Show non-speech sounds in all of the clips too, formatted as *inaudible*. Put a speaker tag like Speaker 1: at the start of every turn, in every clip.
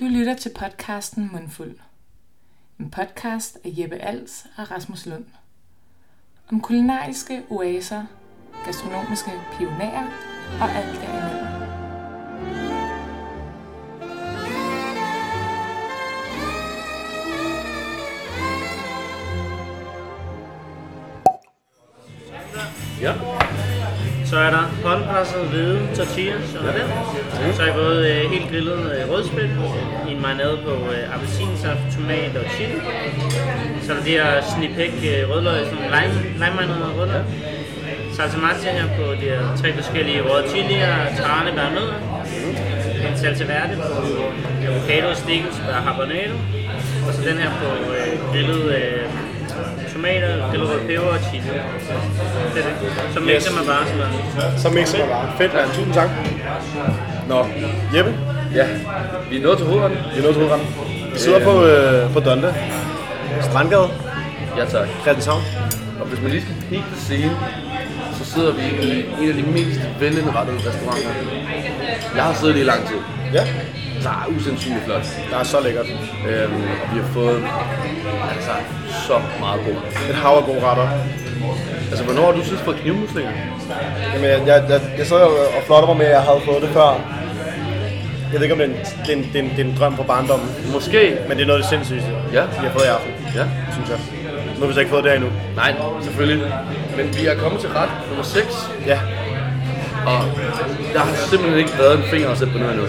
Speaker 1: Du lytter til podcasten Mundfuld. En podcast af Jeppe Als og Rasmus Lund. Om kulinariske oaser, gastronomiske pionerer og alt derimellem.
Speaker 2: Ja. Så er der håndpresset hvide tortillas, sådan der. Så har jeg fået øh, helt grillet øh, rødspil i en marinade på øh, appelsinsaft, tomat og chili. Så er der de her snipæk øh, rødløg, sådan lime, lime og rødløg. Salsa matcha her på de her tre forskellige røde chilier, tranebær og nødder. En salsa verde på øh, avocado, stikkels og habanero. Og så den her på øh, grillet øh, tomater, grillet rød peber og chili. Det er det. Så mixer man bare sådan noget.
Speaker 3: Så mixer man bare. Fedt, mand. Tusind tak. Nå, Jeppe,
Speaker 4: Ja, vi er nået til hovedretten.
Speaker 3: vi er nået til hovedretten. Vi sidder på, øh, på Donda. Strandgade,
Speaker 4: Ja tak.
Speaker 3: Christianshavn.
Speaker 4: Og hvis man lige skal pikke på scenen, så sidder vi i en af de mest velindrettede restauranter. Jeg har siddet i lang tid.
Speaker 3: Ja,
Speaker 4: Så er usandsynligt flot.
Speaker 3: der er så lækkert.
Speaker 4: Øhm, og vi har fået altså, så meget god. mad.
Speaker 3: Et hav af gode retter.
Speaker 4: Altså, hvornår har du sidst fået knivmuslinger?
Speaker 3: Jamen, jeg, jeg, jeg, jeg sad jo øh, og flottede mig med, at jeg havde fået det før. Jeg ved ikke, om det er en, det er en, det er en, det er en drøm fra barndommen,
Speaker 4: Måske.
Speaker 3: men det er noget af det sindssygeste,
Speaker 4: Ja.
Speaker 3: jeg har fået i aften,
Speaker 4: Ja.
Speaker 3: synes jeg. Nu har vi så ikke fået det her endnu.
Speaker 4: Nej, selvfølgelig. Men vi er kommet til ret nummer 6,
Speaker 3: Ja,
Speaker 4: og der har simpelthen ikke været en finger at sætte på noget endnu.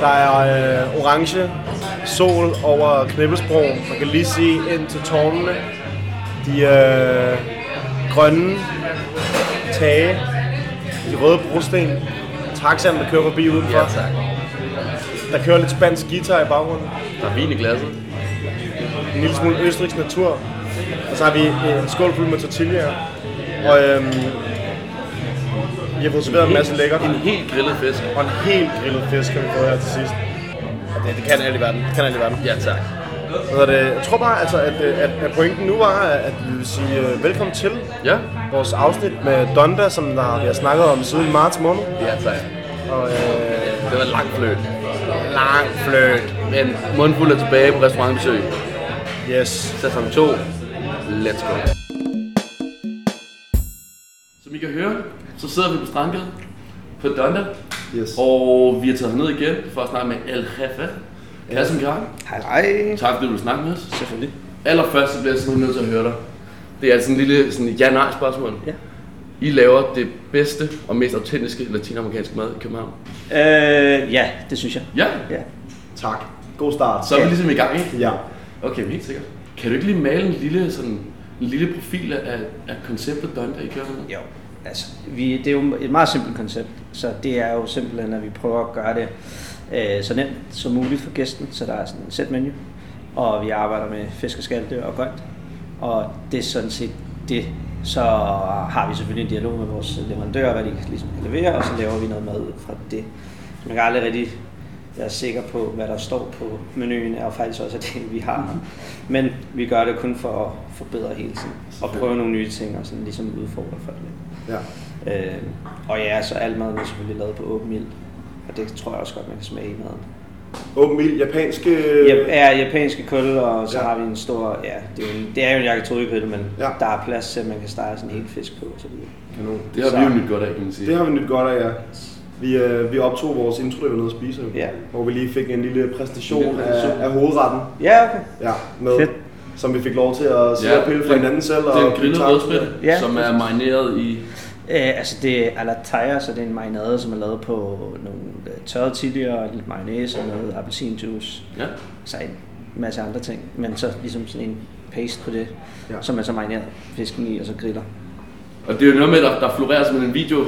Speaker 3: der er øh, orange sol over Knibbelsbroen. Man kan lige se ind til tårnene. De øh, grønne tage, de røde brosten, taxaen, der kører forbi udenfor.
Speaker 4: Ja tak.
Speaker 3: Der kører lidt spansk guitar i baggrunden.
Speaker 4: Der er vin i glasset.
Speaker 3: En lille smule Østrigs natur. Og så har vi øh, en skål fuld med tortillaer. Og øhm, vi har fået serveret en masse lækkert.
Speaker 4: En helt grillet fisk.
Speaker 3: Og en helt grillet fisk har vi fået her til sidst. Og det, det kan alt i verden. Det kan alt i verden.
Speaker 4: Ja tak.
Speaker 3: Hvad hedder det? Jeg tror bare, altså, at, øh, at, at pointen nu var, at vi vil sige øh, velkommen til
Speaker 4: Ja?
Speaker 3: vores afsnit med Donda, som der, vi har snakket om siden marts måned.
Speaker 4: Ja tak.
Speaker 3: Og øh,
Speaker 4: Det var en lang fløjt.
Speaker 3: lang fløjt.
Speaker 4: Men mundfuld er tilbage på restaurantbesøg.
Speaker 3: Yes.
Speaker 4: Sæson 2. Let's go. Som I kan høre, så sidder vi på strandgaden på Donda.
Speaker 3: Yes.
Speaker 4: Og vi er taget ned igen for at snakke med El Jefe. Kasim Kran,
Speaker 3: Hej, hej.
Speaker 4: tak fordi du vil snakke med os.
Speaker 3: Selvfølgelig.
Speaker 4: Allerførst så bliver jeg simpelthen nødt til at høre dig. Det er altså en lille sådan ja-nej spørgsmål.
Speaker 5: Ja.
Speaker 4: I laver det bedste og mest autentiske latinamerikanske mad i København.
Speaker 5: Øh, ja, det synes jeg.
Speaker 4: Ja,
Speaker 5: Ja.
Speaker 3: Tak. God start.
Speaker 4: så er vi ligesom i gang, ikke?
Speaker 3: Ja.
Speaker 4: Okay, men helt sikkert. Kan du ikke lige male en lille, sådan, en lille profil af, af konceptet Donda, I kører med?
Speaker 5: Jo, altså, vi, det er jo et meget simpelt koncept, så det er jo simpelthen, at vi prøver at gøre det øh, så nemt som muligt for gæsten, så der er sådan en sæt menu, og vi arbejder med fiskeskalte og grønt, og det er sådan set det. Så har vi selvfølgelig en dialog med vores leverandører, hvad de ligesom kan levere, og så laver vi noget mad ud fra det. Så man kan aldrig rigtig være sikker på, hvad der står på menuen, er jo faktisk også det, vi har. Men vi gør det kun for at forbedre hele tiden, og prøve nogle nye ting, og sådan ligesom udfordre folk lidt.
Speaker 3: Ja.
Speaker 5: Øh, og ja, så alt maden er selvfølgelig lavet på åben ild. Og det tror jeg også godt, man kan smage i maden.
Speaker 3: Åben ild, øh, japanske...
Speaker 5: Ja, er japanske kul, og så
Speaker 3: Ja.
Speaker 5: ja. har vi en stor... Ja, det er jo en, det er jo en yakitorikølle, men
Speaker 3: Ja.
Speaker 5: ja. der er plads til, at man kan stege sådan en hel fisk på. Så det,
Speaker 3: Kanon.
Speaker 4: Det har
Speaker 5: Så-
Speaker 4: vi jo nyt godt af, kan man sige.
Speaker 3: Det har vi nyt godt af, ja. Vi, øh, vi optog vores intro, der var nede at spise, jo.
Speaker 5: Ja.
Speaker 3: hvor vi lige fik en lille præstation,
Speaker 4: En lille præstation.
Speaker 3: Af, af hovedretten.
Speaker 5: ja, okay.
Speaker 3: Ja, med,
Speaker 5: Fedt.
Speaker 3: som vi fik lov til at sidde og pille fra
Speaker 4: den-
Speaker 3: hinanden selv. og
Speaker 4: Den grillede
Speaker 3: tage-
Speaker 4: rødspæt, ja.
Speaker 5: Ja.
Speaker 4: som er marineret i...
Speaker 5: Øh, altså det er alataya, så det er en marinade, som er lavet på nogle øh, tørrede chilier, lidt mayonnaise og noget appelsinjuice.
Speaker 4: Ja,
Speaker 5: Så en masse andre ting, men så ligesom sådan en paste på det,
Speaker 3: Ja.
Speaker 5: ja. som man så marinerer fisken i, og så griller.
Speaker 4: og det er jo noget med, der, der florerer som en video.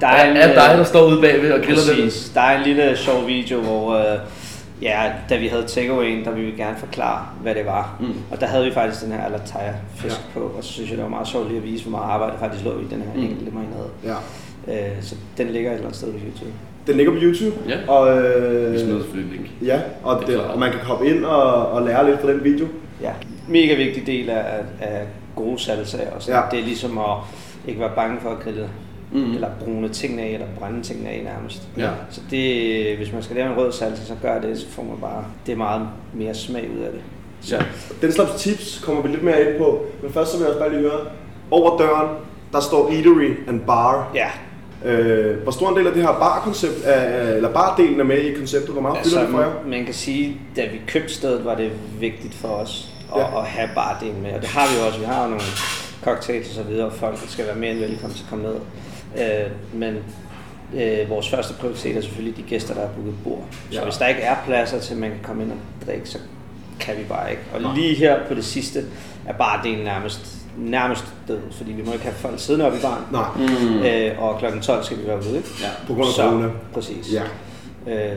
Speaker 5: Der er en,
Speaker 4: en, af
Speaker 5: øh,
Speaker 4: dig, der står ude bagved og griller den.
Speaker 5: Præcis. Der er en lille sjov video, hvor øh, ja, da vi havde takeawayen, der ville vi gerne forklare, hvad det var.
Speaker 4: Mm.
Speaker 5: Og der havde vi faktisk den her alataya fisk
Speaker 3: Ja.
Speaker 5: ja. på, og så synes jeg, det var meget sjovt lige at vise, hvor meget arbejde der faktisk lå i den her
Speaker 4: Mm.
Speaker 5: mm. enkelte marinade.
Speaker 3: Ja.
Speaker 5: Øh, så den ligger et eller andet sted på YouTube.
Speaker 3: Den ligger på YouTube.
Speaker 4: Ja.
Speaker 3: Og, øh,
Speaker 4: Vi smider selvfølgelig et link.
Speaker 3: Ja, og,
Speaker 4: Det er
Speaker 3: det,
Speaker 4: klart.
Speaker 3: og man kan hoppe ind og, og lære lidt fra den video.
Speaker 5: Ja. Mega vigtig del af, af gode salsaer. Og sådan.
Speaker 3: Ja.
Speaker 5: Ja. Det er ligesom at ikke være bange for at grille
Speaker 4: Mhm.
Speaker 5: mm. eller brune tingene af, eller brænde tingene af nærmest.
Speaker 4: Ja.
Speaker 5: Så det, hvis man skal lave en rød salsa, så gør det, så får man bare, det er meget mere smag ud af det. Så
Speaker 4: Ja.
Speaker 3: Den slags tips kommer vi lidt mere ind på, men først så vil jeg også bare lige høre, over døren, der står Eatery and Bar.
Speaker 5: ja,
Speaker 3: Øh, hvor stor en del af det her barkoncept, er, eller bardelen er med i konceptet, hvor meget fylder
Speaker 5: altså,
Speaker 3: det for jer?
Speaker 5: man kan sige, da vi købte stedet, var det vigtigt for os at,
Speaker 3: Ja.
Speaker 5: ja. at have bardelen med, og det har vi jo også. Vi har jo nogle cocktails og så videre, og folk skal være mere end velkommen til at komme ned. Øh, men øh, vores første prioritet er selvfølgelig de gæster, der har booket bord. Så
Speaker 3: Ja.
Speaker 5: hvis der ikke er pladser til, at man kan komme ind og drikke, så kan vi bare ikke. Og lige her på det sidste er bardelen nærmest, nærmest død, fordi vi må ikke have folk siddende oppe i baren.
Speaker 3: Nej,
Speaker 4: Mm.
Speaker 5: Øh, og klokken 12 skal vi være ude. ikke?
Speaker 4: Ja.
Speaker 3: på grund af
Speaker 5: Så-
Speaker 3: corona.
Speaker 5: Præcis.
Speaker 3: Ja.
Speaker 5: Øh,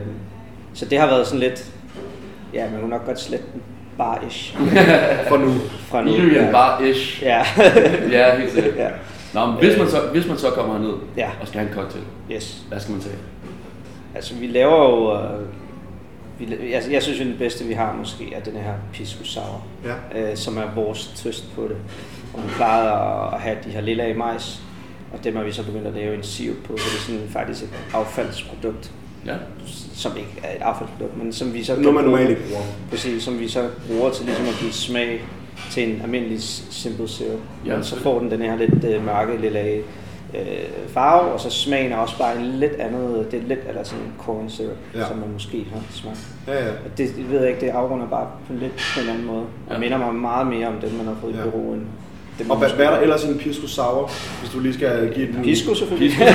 Speaker 5: så det har været sådan lidt, ja, man kunne nok godt slette den bare-ish
Speaker 3: For nu.
Speaker 5: fra nu.
Speaker 4: Illyrian bar ish.
Speaker 5: Ja, *laughs*
Speaker 4: Ja, helt sikkert.
Speaker 5: Ja.
Speaker 4: Nå, men hvis man, så, hvis man så kommer herned
Speaker 5: Ja.
Speaker 4: og skal have en cocktail,
Speaker 5: yes.
Speaker 4: hvad skal man tage?
Speaker 5: Altså, vi laver jo... Øh, vi, la- jeg, jeg synes jo, den bedste, vi har måske, er den her pisco sour,
Speaker 3: Ja.
Speaker 5: øh, som er vores twist på det. Og vi plejede at, at have de her lilla i majs, og dem har vi så begyndt at lave en sirup på, så det er sådan faktisk et affaldsprodukt,
Speaker 4: Ja.
Speaker 5: som ikke er et affaldsprodukt, men som vi så...
Speaker 3: Det er noget, man normalt ikke bruger.
Speaker 5: Præcis, som vi så bruger til ligesom at give smag til en almindelig s- simple syrup.
Speaker 4: Ja,
Speaker 5: Ja, så
Speaker 4: så-
Speaker 5: får den den her lidt øh, mørke, lille øh, farve, og så smagen er også bare en lidt andet, det er lidt eller sådan en corn syrup,
Speaker 3: Ja.
Speaker 5: ja. som man måske har smagt.
Speaker 3: Ja, ja.
Speaker 5: Og det, det ved jeg ikke, det afrunder bare på lidt på en anden måde. Og
Speaker 4: Ja.
Speaker 5: minder mig meget mere om den, man har fået
Speaker 3: Ja.
Speaker 5: i Peru, end den,
Speaker 3: Og
Speaker 5: man
Speaker 3: hvad,
Speaker 5: måske
Speaker 3: hvad er der
Speaker 5: har.
Speaker 3: ellers i en pisco sour, hvis du lige skal give den?
Speaker 5: Pisco selvfølgelig.
Speaker 3: Pisco
Speaker 5: *laughs*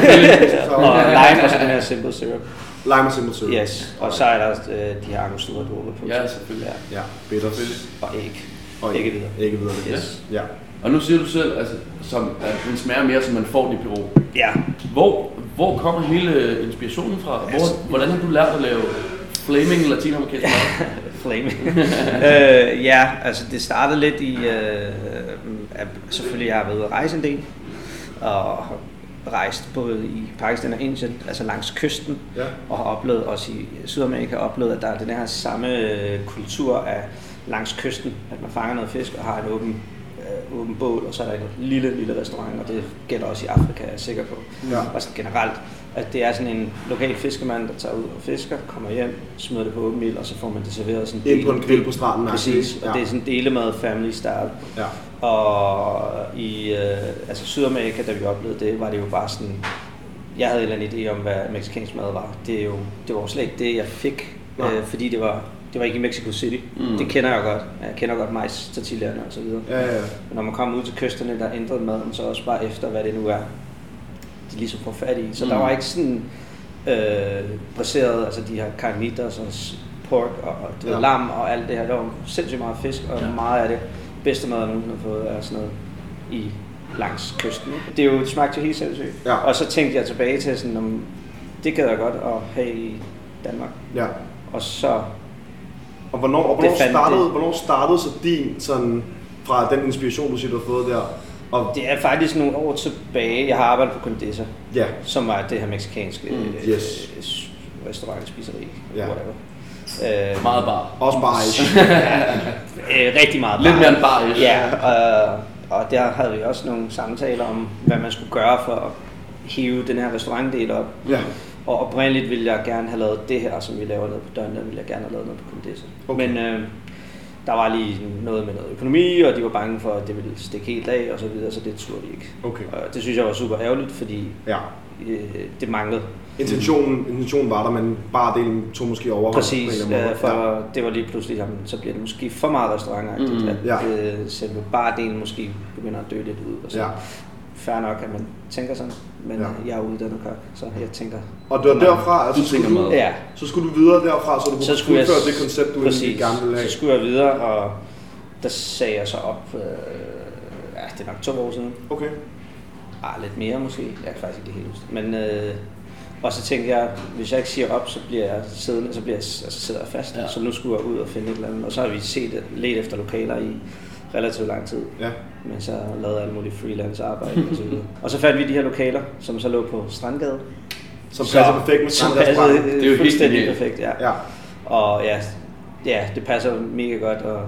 Speaker 5: og
Speaker 3: sour.
Speaker 5: lime og så den her simple syrup.
Speaker 3: Lime og simple syrup.
Speaker 5: Yes. Og så er der også, øh, de her angostura dråber på.
Speaker 4: Ja, selvfølgelig.
Speaker 5: Ja.
Speaker 3: Ja, bitters.
Speaker 5: Og æg.
Speaker 3: Og
Speaker 5: Ikke videre.
Speaker 3: Ikke videre. det.
Speaker 5: Yes.
Speaker 3: Ja.
Speaker 4: Og nu siger du selv, altså, som, at den smager mere, som man får den i Peru.
Speaker 5: Ja,
Speaker 4: Hvor, hvor kommer hele øh, inspirationen fra? Hvor,
Speaker 5: Altså-
Speaker 4: hvordan har du lært at lave flaming latinamerikansk mad?
Speaker 5: Flame. øh, ja, altså det startede lidt i, øh, at selvfølgelig har jeg været ude at rejse en del, og rejst både i Pakistan og Indien, altså langs kysten,
Speaker 3: Ja.
Speaker 5: og har oplevet også i Sydamerika, oplevet, at der er den her samme øh, kultur af langs kysten, at man fanger noget fisk og har en åben, øh, åben bål, og så er der en lille, lille restaurant, og det gælder også i Afrika, er jeg sikker på
Speaker 3: Ja.
Speaker 5: og sådan generelt, at det er sådan en lokal fiskemand, der tager ud og fisker, kommer hjem, smider det på åben ild, og så får man det serveret sådan
Speaker 3: Ind på en grill på stranden.
Speaker 5: Præcis,
Speaker 3: Ja.
Speaker 5: og det er sådan en delemad family style.
Speaker 3: Ja.
Speaker 5: Og i øh, altså Sydamerika, da vi oplevede det, var det jo bare sådan, jeg havde en eller anden idé om, hvad mexicansk mad var. Det, er jo, det var jo slet ikke det, jeg fik,
Speaker 3: Nej.
Speaker 5: øh, fordi det var, det var ikke i Mexico City.
Speaker 4: Mm.
Speaker 5: Mm. Det kender jeg godt. Jeg kender godt majs, tortillerne og så videre.
Speaker 3: Ja, ja, ja.
Speaker 5: Men når man kommer ud til kysterne, der ændrede maden så også bare efter, hvad det nu er, de ligesom får fat i. Så mm. der
Speaker 4: Mm.
Speaker 5: var ikke sådan øh, baseret, altså de her carnitas og s- pork og og du ved,
Speaker 3: Ja.
Speaker 5: lam og alt det her. Der var sindssygt meget fisk, og
Speaker 4: Ja.
Speaker 5: ja. meget af det bedste mad, man har fået, er sådan noget i langs kysten. ikke? Det er jo det smagte jo helt sindssygt.
Speaker 3: Ja.
Speaker 5: Og så tænkte jeg tilbage til sådan, om det gad jeg godt at have i Danmark.
Speaker 3: ja.
Speaker 5: Og så
Speaker 3: Og hvornår, og
Speaker 5: Det
Speaker 3: hvornår,
Speaker 5: fandt
Speaker 3: startede,
Speaker 5: det.
Speaker 3: hvornår startede så din sådan, fra den inspiration, du siger, du har fået der? Og,
Speaker 5: det er faktisk nogle år tilbage, jeg har arbejdet på Condesa.
Speaker 3: ja,
Speaker 5: som var det her meksikanske
Speaker 4: Mm,
Speaker 5: øh,
Speaker 3: yes.
Speaker 5: øh, s- restaurant, spiseri,
Speaker 3: Ja.
Speaker 5: yeah. whatever. Øh,
Speaker 4: Meget bar.
Speaker 3: også
Speaker 5: *laughs*
Speaker 3: bare ish.
Speaker 5: øh, rigtig meget
Speaker 4: Lidt
Speaker 5: bar.
Speaker 4: mere end bar, yes.
Speaker 5: Ja, øh, og der havde vi også nogle samtaler om, hvad man skulle gøre for at hive den her restaurantdel op.
Speaker 3: Ja.
Speaker 5: Og oprindeligt ville jeg gerne have lavet det her, som vi laver nede på døren, der ville jeg gerne have lavet noget på Condesa.
Speaker 3: Okay.
Speaker 5: Okay. Men øh, der var lige noget med noget økonomi, og de var bange for, at det ville stikke helt af og så videre, så det turde de ikke.
Speaker 3: Okay.
Speaker 5: Og det synes jeg var super ærgerligt, fordi
Speaker 3: Ja.
Speaker 5: øh, det manglede
Speaker 3: Intentionen, intentionen var der, men bare delen tog måske over.
Speaker 5: Præcis, øh, for
Speaker 3: ja.
Speaker 5: det var lige pludselig, jamen, så bliver det måske for meget restaurantagtigt,
Speaker 4: Mm,
Speaker 5: mm, at
Speaker 3: ja.
Speaker 5: øh, selve bardelen måske begynder at dø lidt ud. Og så.
Speaker 3: Ja.
Speaker 5: Ja. Fair nok, at man tænker sådan, men
Speaker 3: Ja.
Speaker 5: ja. jeg er uddannet kok, så jeg tænker...
Speaker 3: Og det var derfra, altså,
Speaker 4: Du tænker
Speaker 3: skulle
Speaker 4: meget.
Speaker 5: Ja,
Speaker 3: Så skulle du videre derfra, så du
Speaker 5: så
Speaker 3: kunne
Speaker 5: skulle jeg...
Speaker 3: udføre det koncept, du egentlig gerne ville have.
Speaker 5: så skulle jeg videre, og der sagde jeg så op, øh, ja, det er nok to år siden,
Speaker 3: Okay.
Speaker 5: Ah, lidt mere måske. Jeg kan faktisk ikke helt huske det. Men, øh, og så tænkte jeg, hvis jeg ikke siger op, så bliver jeg siddende, så bliver jeg, altså, sidder jeg fast.
Speaker 4: Ja.
Speaker 5: Ja. Så nu skulle jeg ud og finde et eller andet. Og så har vi set, let efter lokaler i relativt lang tid.
Speaker 3: Ja.
Speaker 5: Men så lavede alle mulige freelance arbejde og så
Speaker 4: *laughs*
Speaker 5: videre. Og så fandt vi de her lokaler, som så lå på Strandgade.
Speaker 3: Som passer perfekt med
Speaker 5: som
Speaker 3: strandrestaurant.
Speaker 5: passede,
Speaker 4: Det
Speaker 5: det
Speaker 4: er jo
Speaker 5: er
Speaker 4: helt
Speaker 5: fuldstændig
Speaker 4: genialt.
Speaker 5: perfekt, ja.
Speaker 3: Ja.
Speaker 5: Og ja, ja, det passer mega godt, og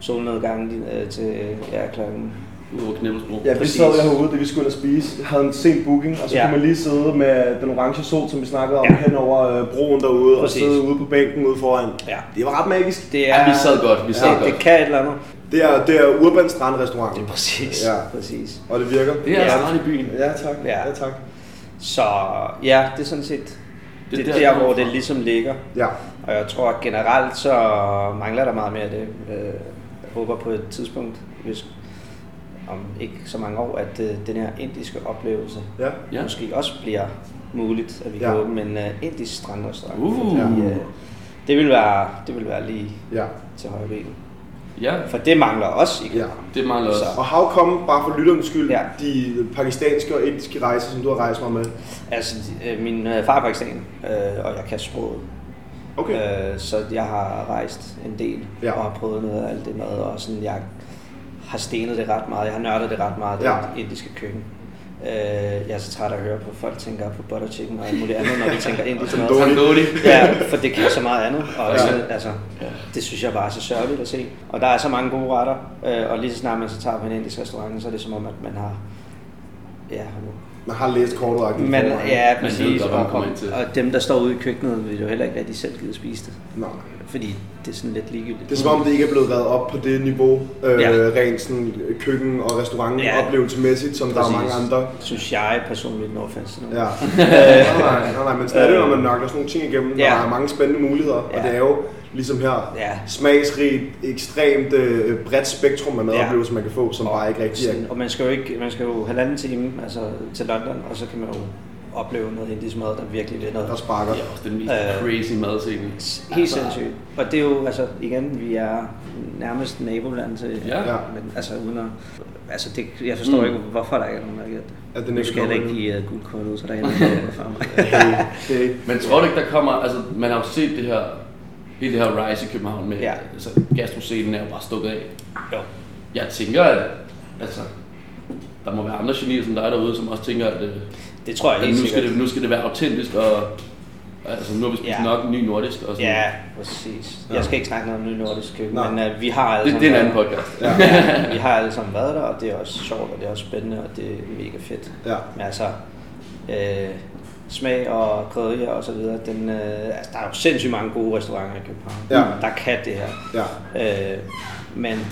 Speaker 5: solnedgangen øh, til ja, klokken
Speaker 4: ud over Knibbelsbro.
Speaker 3: Ja, vi
Speaker 5: Præcis.
Speaker 3: sad herude, da vi skulle ind og spise, havde en sen booking, og så
Speaker 5: Ja.
Speaker 3: ja. kunne man lige sidde med den orange sol, som vi snakkede om,
Speaker 5: Ja.
Speaker 3: ja. hen over øh, broen derude,
Speaker 5: Præcis.
Speaker 3: Præcis. og sidde ude på bænken ude foran.
Speaker 5: Ja.
Speaker 3: Det var ret magisk.
Speaker 5: Det er,
Speaker 4: Ja, vi sad godt, vi sad
Speaker 5: det,
Speaker 4: godt.
Speaker 5: det kan et eller andet.
Speaker 3: Det er, det er Urban Strandrestaurant,
Speaker 5: Det er præcis.
Speaker 3: Ja.
Speaker 5: præcis.
Speaker 3: og det virker.
Speaker 4: Det er
Speaker 5: Ja.
Speaker 4: ja. strand i byen.
Speaker 3: Ja, tak.
Speaker 5: Ja.
Speaker 3: Ja, ja tak.
Speaker 5: Så ja, det er sådan set det, det er
Speaker 4: det
Speaker 5: der,
Speaker 4: kommer
Speaker 5: hvor det
Speaker 4: fra.
Speaker 5: ligesom ligger.
Speaker 3: Ja.
Speaker 5: Og jeg tror at generelt, så mangler der meget mere af det. Øh, Jeg håber på et tidspunkt, hvis om ikke så mange år, at øh, den her indiske oplevelse
Speaker 3: Ja.
Speaker 4: Ja.
Speaker 5: ja. måske også bliver muligt, at vi kan
Speaker 3: Ja.
Speaker 5: åbne en øh, indisk strandrestaurant.
Speaker 4: Uh.
Speaker 5: Fordi, øh, det, vil være, det vil være lige
Speaker 3: Ja.
Speaker 5: til højre benet.
Speaker 4: Ja,
Speaker 5: For det mangler også ikke.
Speaker 3: Ja.
Speaker 4: det mangler også.
Speaker 3: Og how come, bare for lytternes skyld,
Speaker 5: Ja.
Speaker 3: ja. de pakistanske og indiske rejser, som du har rejst mig med?
Speaker 5: Altså, øh, min øh, far er pakistaner, øh, og jeg kan sproget.
Speaker 3: Okay.
Speaker 5: Øh, så jeg har rejst en del ja.
Speaker 3: Ja.
Speaker 5: og har prøvet noget af alt det mad, og sådan, jeg har stenet det ret meget, jeg har nørdet det ret meget,
Speaker 3: Ja.
Speaker 5: det indiske køkken. Øh, jeg er så træt af at høre på, at folk tænker på butter chicken og alt muligt andet, når de tænker indisk mad.
Speaker 3: Tandoori.
Speaker 4: Tangoli.
Speaker 5: Ja, for det kan så meget andet, og
Speaker 4: Ja.
Speaker 5: så, altså, det synes jeg bare er så sørgeligt at se. Og der er så mange gode retter, øh, og lige så snart man så tager på en indisk restaurant, så er det som om, at man har ja,
Speaker 3: Man har læst kortet og
Speaker 5: man, ja,
Speaker 4: Man ved
Speaker 5: præcis,
Speaker 4: godt, hvad man
Speaker 5: og, og,
Speaker 4: kommer ind til.
Speaker 5: og dem, der står ude i køkkenet, vil jo heller ikke rigtig selv gide spise det.
Speaker 3: Nej.
Speaker 5: Fordi det er sådan lidt ligegyldigt.
Speaker 3: Det er som om, det ikke er blevet været op på det niveau, øh,
Speaker 5: Ja.
Speaker 3: ja. rent sådan køkken- og
Speaker 5: Ja.
Speaker 3: restaurantoplevelsesmæssigt, som der er mange andre.
Speaker 5: Synes jeg personligt, når offense nu. *laughs*
Speaker 3: Ja. Øh, nej, nej, nej, nej, men stadig, når man nørkler sådan nogle ting igennem,
Speaker 5: Ja.
Speaker 3: ja. der er mange spændende muligheder, ja.
Speaker 5: Ja.
Speaker 3: og det er jo ligesom her,
Speaker 5: Ja.
Speaker 3: smagsrigt, ekstremt øh, bredt spektrum af madoplevelser, man kan få, som bare ikke rigtig er.
Speaker 5: Sådan, og man skal jo ikke, man skal jo halvanden time altså, til London, og så kan man jo opleve noget indisk mad, der virkelig vil noget.
Speaker 3: Der sparker.
Speaker 4: Det er også den mest
Speaker 5: Øh.
Speaker 4: crazy madscene.
Speaker 5: Helt sindssygt. Og det er jo, altså igen, vi er nærmest naboland til,
Speaker 4: Ja.
Speaker 3: Ja.
Speaker 5: men altså uden at, altså det, jeg forstår
Speaker 4: Mm.
Speaker 5: mm. ikke, hvorfor der ikke er nogen, der har gjort det.
Speaker 3: At den
Speaker 5: nu
Speaker 3: ikke
Speaker 5: skal jeg
Speaker 3: kommer
Speaker 5: ikke
Speaker 3: endnu.
Speaker 5: give uh, guldkortet ud, så der er en, der kommer efter mig.
Speaker 3: Okay. Det er ikke.
Speaker 4: Men tror du ikke, der kommer... Altså, man har jo set det her... Hele det her rise i København med...
Speaker 5: Ja.
Speaker 4: Altså, gastroscenen er jo bare stukket af.
Speaker 5: Jo.
Speaker 4: Jeg tænker, at... Altså, der må være andre genier som dig derude, som også tænker, at, øh,
Speaker 5: Det tror jeg
Speaker 4: at
Speaker 5: helt
Speaker 4: nu, skal
Speaker 5: sikkert.
Speaker 4: det, nu skal det være autentisk, og altså, nu har vi spist
Speaker 5: Ja.
Speaker 4: nok ny nordisk. Og sådan.
Speaker 5: Ja, præcis. Jeg skal ikke snakke noget om ny nordisk køkken,
Speaker 3: Nej.
Speaker 5: men uh, vi har alle
Speaker 4: Det,
Speaker 5: sammen
Speaker 4: det er en
Speaker 5: været-
Speaker 4: anden podcast.
Speaker 3: Ja.
Speaker 5: *laughs* vi har alle sammen været der, og det er også sjovt, og det er også spændende, og det er mega fedt.
Speaker 3: Ja.
Speaker 5: Men altså, øh, smag og krydderier og så videre, den, øh, altså, der er jo sindssygt mange gode restauranter i København,
Speaker 3: Ja.
Speaker 5: der kan det her.
Speaker 3: Ja.
Speaker 5: Øh, men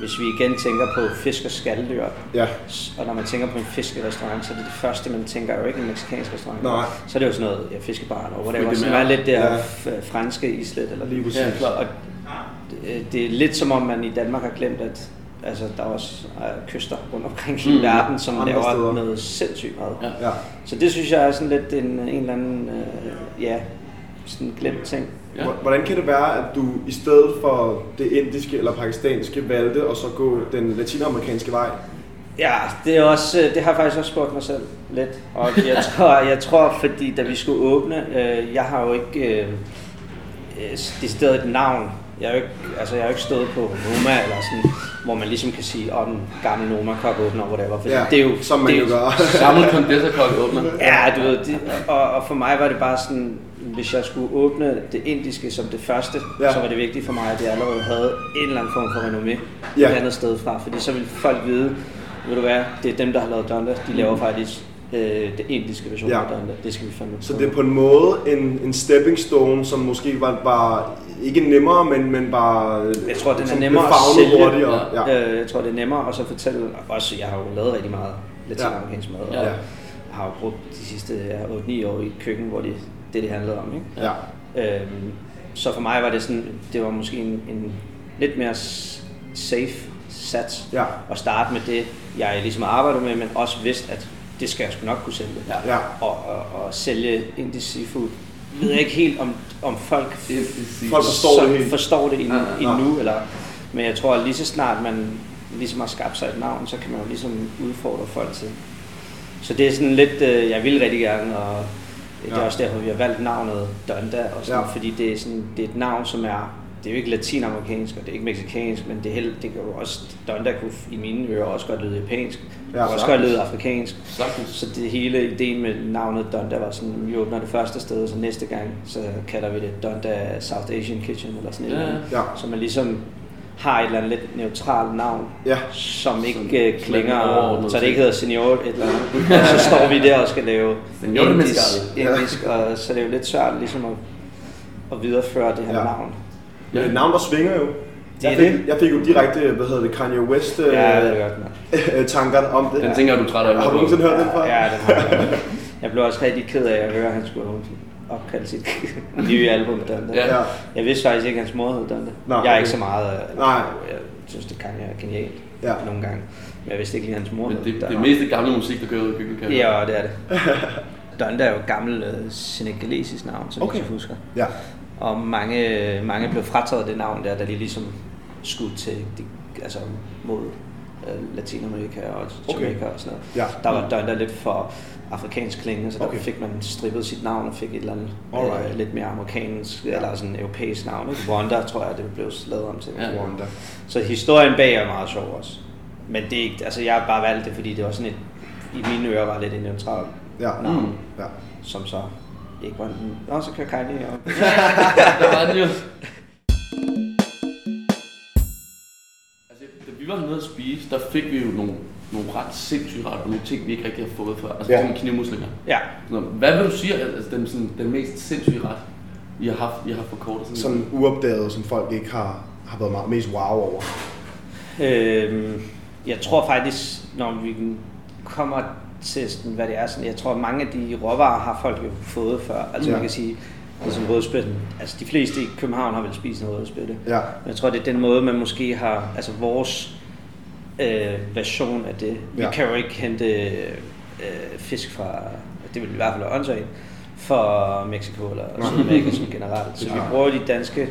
Speaker 5: hvis vi igen tænker på fisk og skaldyr,
Speaker 3: Ja.
Speaker 5: s- og når man tænker på en fiskerestaurant, så er det det første, man tænker jo ikke en meksikansk restaurant.
Speaker 3: Nej.
Speaker 5: Så er det jo sådan noget ja, fiskebar og
Speaker 4: Men
Speaker 5: whatever,
Speaker 4: det
Speaker 5: som
Speaker 4: mere-
Speaker 5: er lidt der
Speaker 3: Ja.
Speaker 5: f- franske islet eller
Speaker 3: Lige præcis.
Speaker 4: Ja, klart.
Speaker 5: og det- øh, det er lidt som om, man i Danmark har glemt, at altså, der er også øh, kyster rundt omkring i
Speaker 4: Mm.
Speaker 5: verden, som
Speaker 3: Andre
Speaker 5: laver
Speaker 3: steder.
Speaker 5: noget sindssygt mad.
Speaker 4: Ja.
Speaker 3: Ja.
Speaker 5: Så det synes jeg er sådan lidt en, en eller anden øh, ja, sådan glemt ting.
Speaker 4: Ja.
Speaker 3: Hvor- Hvordan kan det være, at du i stedet for det indiske eller pakistanske valgte at så gå den latinamerikanske vej?
Speaker 5: Ja, det, er også, øh, det har jeg faktisk også spurgt mig selv lidt.
Speaker 3: *laughs*
Speaker 5: Og jeg tror, jeg tror fordi da vi skulle åbne, øh, jeg har jo ikke øh, øh, decideret et navn. Jeg har jo ikke, altså, jeg har jo ikke stået på Noma, eller sådan, hvor man ligesom kan sige, om den gamle Noma-kok åbner, whatever. Fordi
Speaker 3: Ja,
Speaker 5: det er jo,
Speaker 3: som man
Speaker 5: det, er
Speaker 3: jo gør. *laughs*
Speaker 4: Gammel kondesserkok åbner.
Speaker 5: Ja, du ved, det, og, og for mig var det bare sådan, hvis jeg skulle åbne det indiske som det første, ja.
Speaker 3: Ja.
Speaker 5: så var det vigtigt for mig, at jeg allerede havde en eller anden form for renommé ja.
Speaker 3: Ja.
Speaker 5: et andet sted fra, fordi så ville folk vide, ved du hvad, det er dem, der har lavet Donda, de laver faktisk øh, det indiske version ja.
Speaker 3: Mm. Ja.
Speaker 5: af Donda, det skal vi fandme
Speaker 3: Så
Speaker 5: prøve.
Speaker 3: det er på en måde en, en stepping stone, som måske var, var ikke nemmere, men, men bare
Speaker 5: Jeg tror, den er
Speaker 3: som
Speaker 5: nemmere
Speaker 3: blev
Speaker 5: at
Speaker 3: faglet
Speaker 5: sælge.
Speaker 3: hurtigere. Ja. Ja.
Speaker 5: Øh, jeg tror, det er nemmere at så fortælle, også jeg har jo lavet rigtig meget latinamerikansk mad, og
Speaker 4: Ja.
Speaker 5: har jo brugt de sidste ja, 8-9 år i et køkken, hvor det det, det handlede om, ikke?
Speaker 3: ja.
Speaker 5: Øhm, så for mig var det sådan, det var måske en, en lidt mere s- safe sats
Speaker 3: Ja.
Speaker 5: at starte med det, jeg ligesom arbejdede med, men også vidste, at det skal jeg sgu nok kunne sælge.
Speaker 3: Ja.
Speaker 5: Og, og, og sælge indisk seafood. Jeg ved ikke helt, om, om folk,
Speaker 3: Folk forstår
Speaker 5: som
Speaker 3: det helt.
Speaker 5: forstår det endnu,
Speaker 4: Nej,
Speaker 3: nej.
Speaker 5: endnu eller, men jeg tror, at lige så snart man ligesom har skabt sig et navn, så kan man jo ligesom udfordre folk til. Så det er sådan lidt, øh, jeg vil rigtig gerne, og det er
Speaker 3: Ja.
Speaker 5: også derfor, vi har valgt navnet Donda, og sådan, ja.
Speaker 3: Ja.
Speaker 5: fordi det er, sådan, det er et navn, som er, det er jo ikke latinamerikansk, og det er ikke meksikansk, men det, er helt, det kan jo også, Donda kunne f- i mine ører også godt lyde japansk, ja,
Speaker 3: Ja,
Speaker 5: og også godt
Speaker 3: sagtens.
Speaker 5: lyde afrikansk.
Speaker 4: Sagtens.
Speaker 5: Så det hele ideen med navnet Donda var sådan, vi åbner det første sted, og så næste gang, så kalder vi det Donda South Asian Kitchen, eller sådan
Speaker 4: Ja,
Speaker 5: noget.
Speaker 4: ja.
Speaker 3: Ja.
Speaker 5: Så man ligesom har et eller andet lidt neutralt navn,
Speaker 3: Ja.
Speaker 5: som ikke øh, klinger,
Speaker 4: overordnet
Speaker 5: så det
Speaker 4: ting.
Speaker 5: ikke hedder senior et eller andet. Og så står vi der og skal lave
Speaker 4: Senior
Speaker 5: indisk,
Speaker 4: Mescal.
Speaker 5: engelsk, og så er det jo lidt svært ligesom at, at videreføre det her
Speaker 3: Ja.
Speaker 5: navn.
Speaker 3: Men et navn, der svinger jo.
Speaker 5: Det er
Speaker 3: jeg, fik,
Speaker 5: det.
Speaker 3: jeg fik jo direkte, hvad hedder det, Kanye West øh,
Speaker 5: Ja, jeg ved det godt,
Speaker 3: *laughs*
Speaker 5: mand.
Speaker 3: øh, tankerne om det.
Speaker 4: Den tænker jeg, du er træt af. at høre
Speaker 3: Har du
Speaker 4: på.
Speaker 3: nogensinde hørt den før?
Speaker 5: Ja, det har jeg. Jeg blev også rigtig ked af at høre, at han skulle opkalde sit *laughs* nye album Dante.
Speaker 4: Ja.
Speaker 3: ja.
Speaker 5: Jeg vidste faktisk ikke, at hans mor hed Dante.
Speaker 3: Nå,
Speaker 5: jeg er
Speaker 3: okay.
Speaker 5: ikke så meget... øh,
Speaker 3: Nej.
Speaker 5: Jeg synes, det kan jeg er genialt
Speaker 3: Ja.
Speaker 5: nogle gange. Men jeg vidste ikke lige, at hans mor
Speaker 4: Men
Speaker 5: hed
Speaker 4: det, det
Speaker 5: Dante.
Speaker 4: er mest det gamle musik, der kører ud i køkkenet. kan jeg høre.
Speaker 5: Ja, det er det. Dante er jo et gammelt øh, senegalesisk navn, som
Speaker 3: Okay.
Speaker 5: jeg husker.
Speaker 3: ja.
Speaker 5: Og mange, øh, mange blev frataget det navn der, da de ligesom skulle til, de, altså mod øh, Latinamerika og Jamaica
Speaker 3: Okay.
Speaker 5: og sådan noget.
Speaker 3: Ja.
Speaker 5: Der var døgn der lidt for afrikansk klingende, så der
Speaker 3: Mm. Okay.
Speaker 5: okay. fik man strippet sit navn og fik et eller andet
Speaker 3: Alright.
Speaker 5: øh, lidt mere amerikansk
Speaker 3: Ja.
Speaker 5: ja. eller sådan europæisk navn. Ikke? Rwanda tror jeg, det blev lavet om til.
Speaker 4: Ja.
Speaker 3: Wanda.
Speaker 5: Så historien bag er meget sjov også. Men det er ikke, altså jeg har bare valgt det, fordi det var sådan et, i mine ører var lidt en neutral
Speaker 3: Ja.
Speaker 5: navn,
Speaker 4: Mm.
Speaker 3: ja.
Speaker 5: som så ikke var en... Nå, så kører Kanye op.
Speaker 4: Der var den jo. Altså, da vi var nede at spise, der fik vi jo nogle, nogle ret sindssyge retter, nogle ting, vi ikke rigtig har fået før. Altså,
Speaker 3: Ja.
Speaker 4: ja. sådan knivmuslinger.
Speaker 5: Ja,
Speaker 4: Sådan, noget. hvad vil du sige, er altså, den, sådan, den mest sindssyge ret, I har haft, I har haft på kortet? Sådan,
Speaker 3: Sådan uopdaget, som folk ikke har, har været meget mest wow over.
Speaker 5: Øhm, jeg tror faktisk, når vi kommer til, sådan, hvad det er, sådan, jeg tror, at mange af de råvarer har folk jo fået før. Altså
Speaker 3: Ja.
Speaker 5: ja. man kan sige, ligesom rødspætten. Altså de fleste i København har vel spist noget rødspætte.
Speaker 3: Ja.
Speaker 5: Men jeg tror, det er den måde, man måske har, altså vores øh, version af det. Vi
Speaker 3: Ja.
Speaker 5: kan jo ikke hente øh, fisk fra, det vil i hvert fald være åndssvagt, fra Mexico eller Sydamerika som generelt. Så vi
Speaker 3: Ja.
Speaker 5: bruger de danske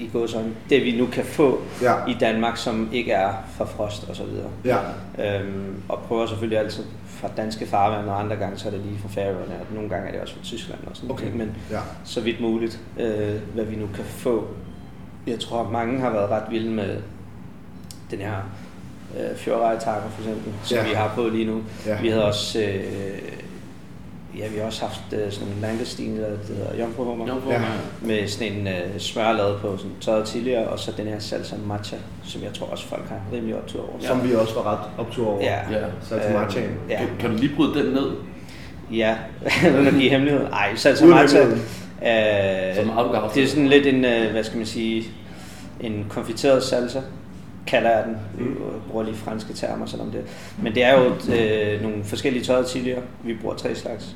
Speaker 5: i går sådan, det vi nu kan få
Speaker 3: Ja.
Speaker 5: i Danmark, som ikke er fra frost og så videre.
Speaker 3: Ja.
Speaker 5: Øhm, og prøver selvfølgelig altid fra danske farvande, og andre gange så er det lige fra Færøerne, og nogle gange er det også fra Tyskland og sådan
Speaker 3: Okay.
Speaker 5: Men
Speaker 3: Ja.
Speaker 5: så vidt muligt, øh, hvad vi nu kan få. Jeg tror, at mange har været ret vilde med den her øh, fjordrejetakker for eksempel, som
Speaker 3: Ja.
Speaker 5: vi har på lige nu.
Speaker 3: Ja.
Speaker 5: Vi havde også... Øh, ja, vi har også haft øh, sådan en langestine, der hedder Jomfruhummer
Speaker 4: Jo, hvor
Speaker 3: Ja.
Speaker 4: man-
Speaker 5: med sådan en øh, smør lavet på sådan tørret tidligere, og så den her salsa matcha, som jeg tror også folk har rimelig optur over.
Speaker 3: Som vi også var ret optur over.
Speaker 5: Ja.
Speaker 4: Ja.
Speaker 3: Salsa matcha.
Speaker 5: Øhm, ja.
Speaker 4: Kan, kan, du lige bryde den ned?
Speaker 5: Ja, *laughs* uden at give hemmelighed. Ej, salsa
Speaker 3: Uden
Speaker 5: matcha.
Speaker 3: hemmelighed.
Speaker 5: Øh,
Speaker 4: Som afgave.
Speaker 5: det er sådan lidt en, øh, hvad skal man sige, en konfiteret salsa, kalder jeg den. Vi øh, bruger lige franske termer, selvom det Men det er jo et, øh, nogle forskellige tørrede chilier. Vi bruger tre slags.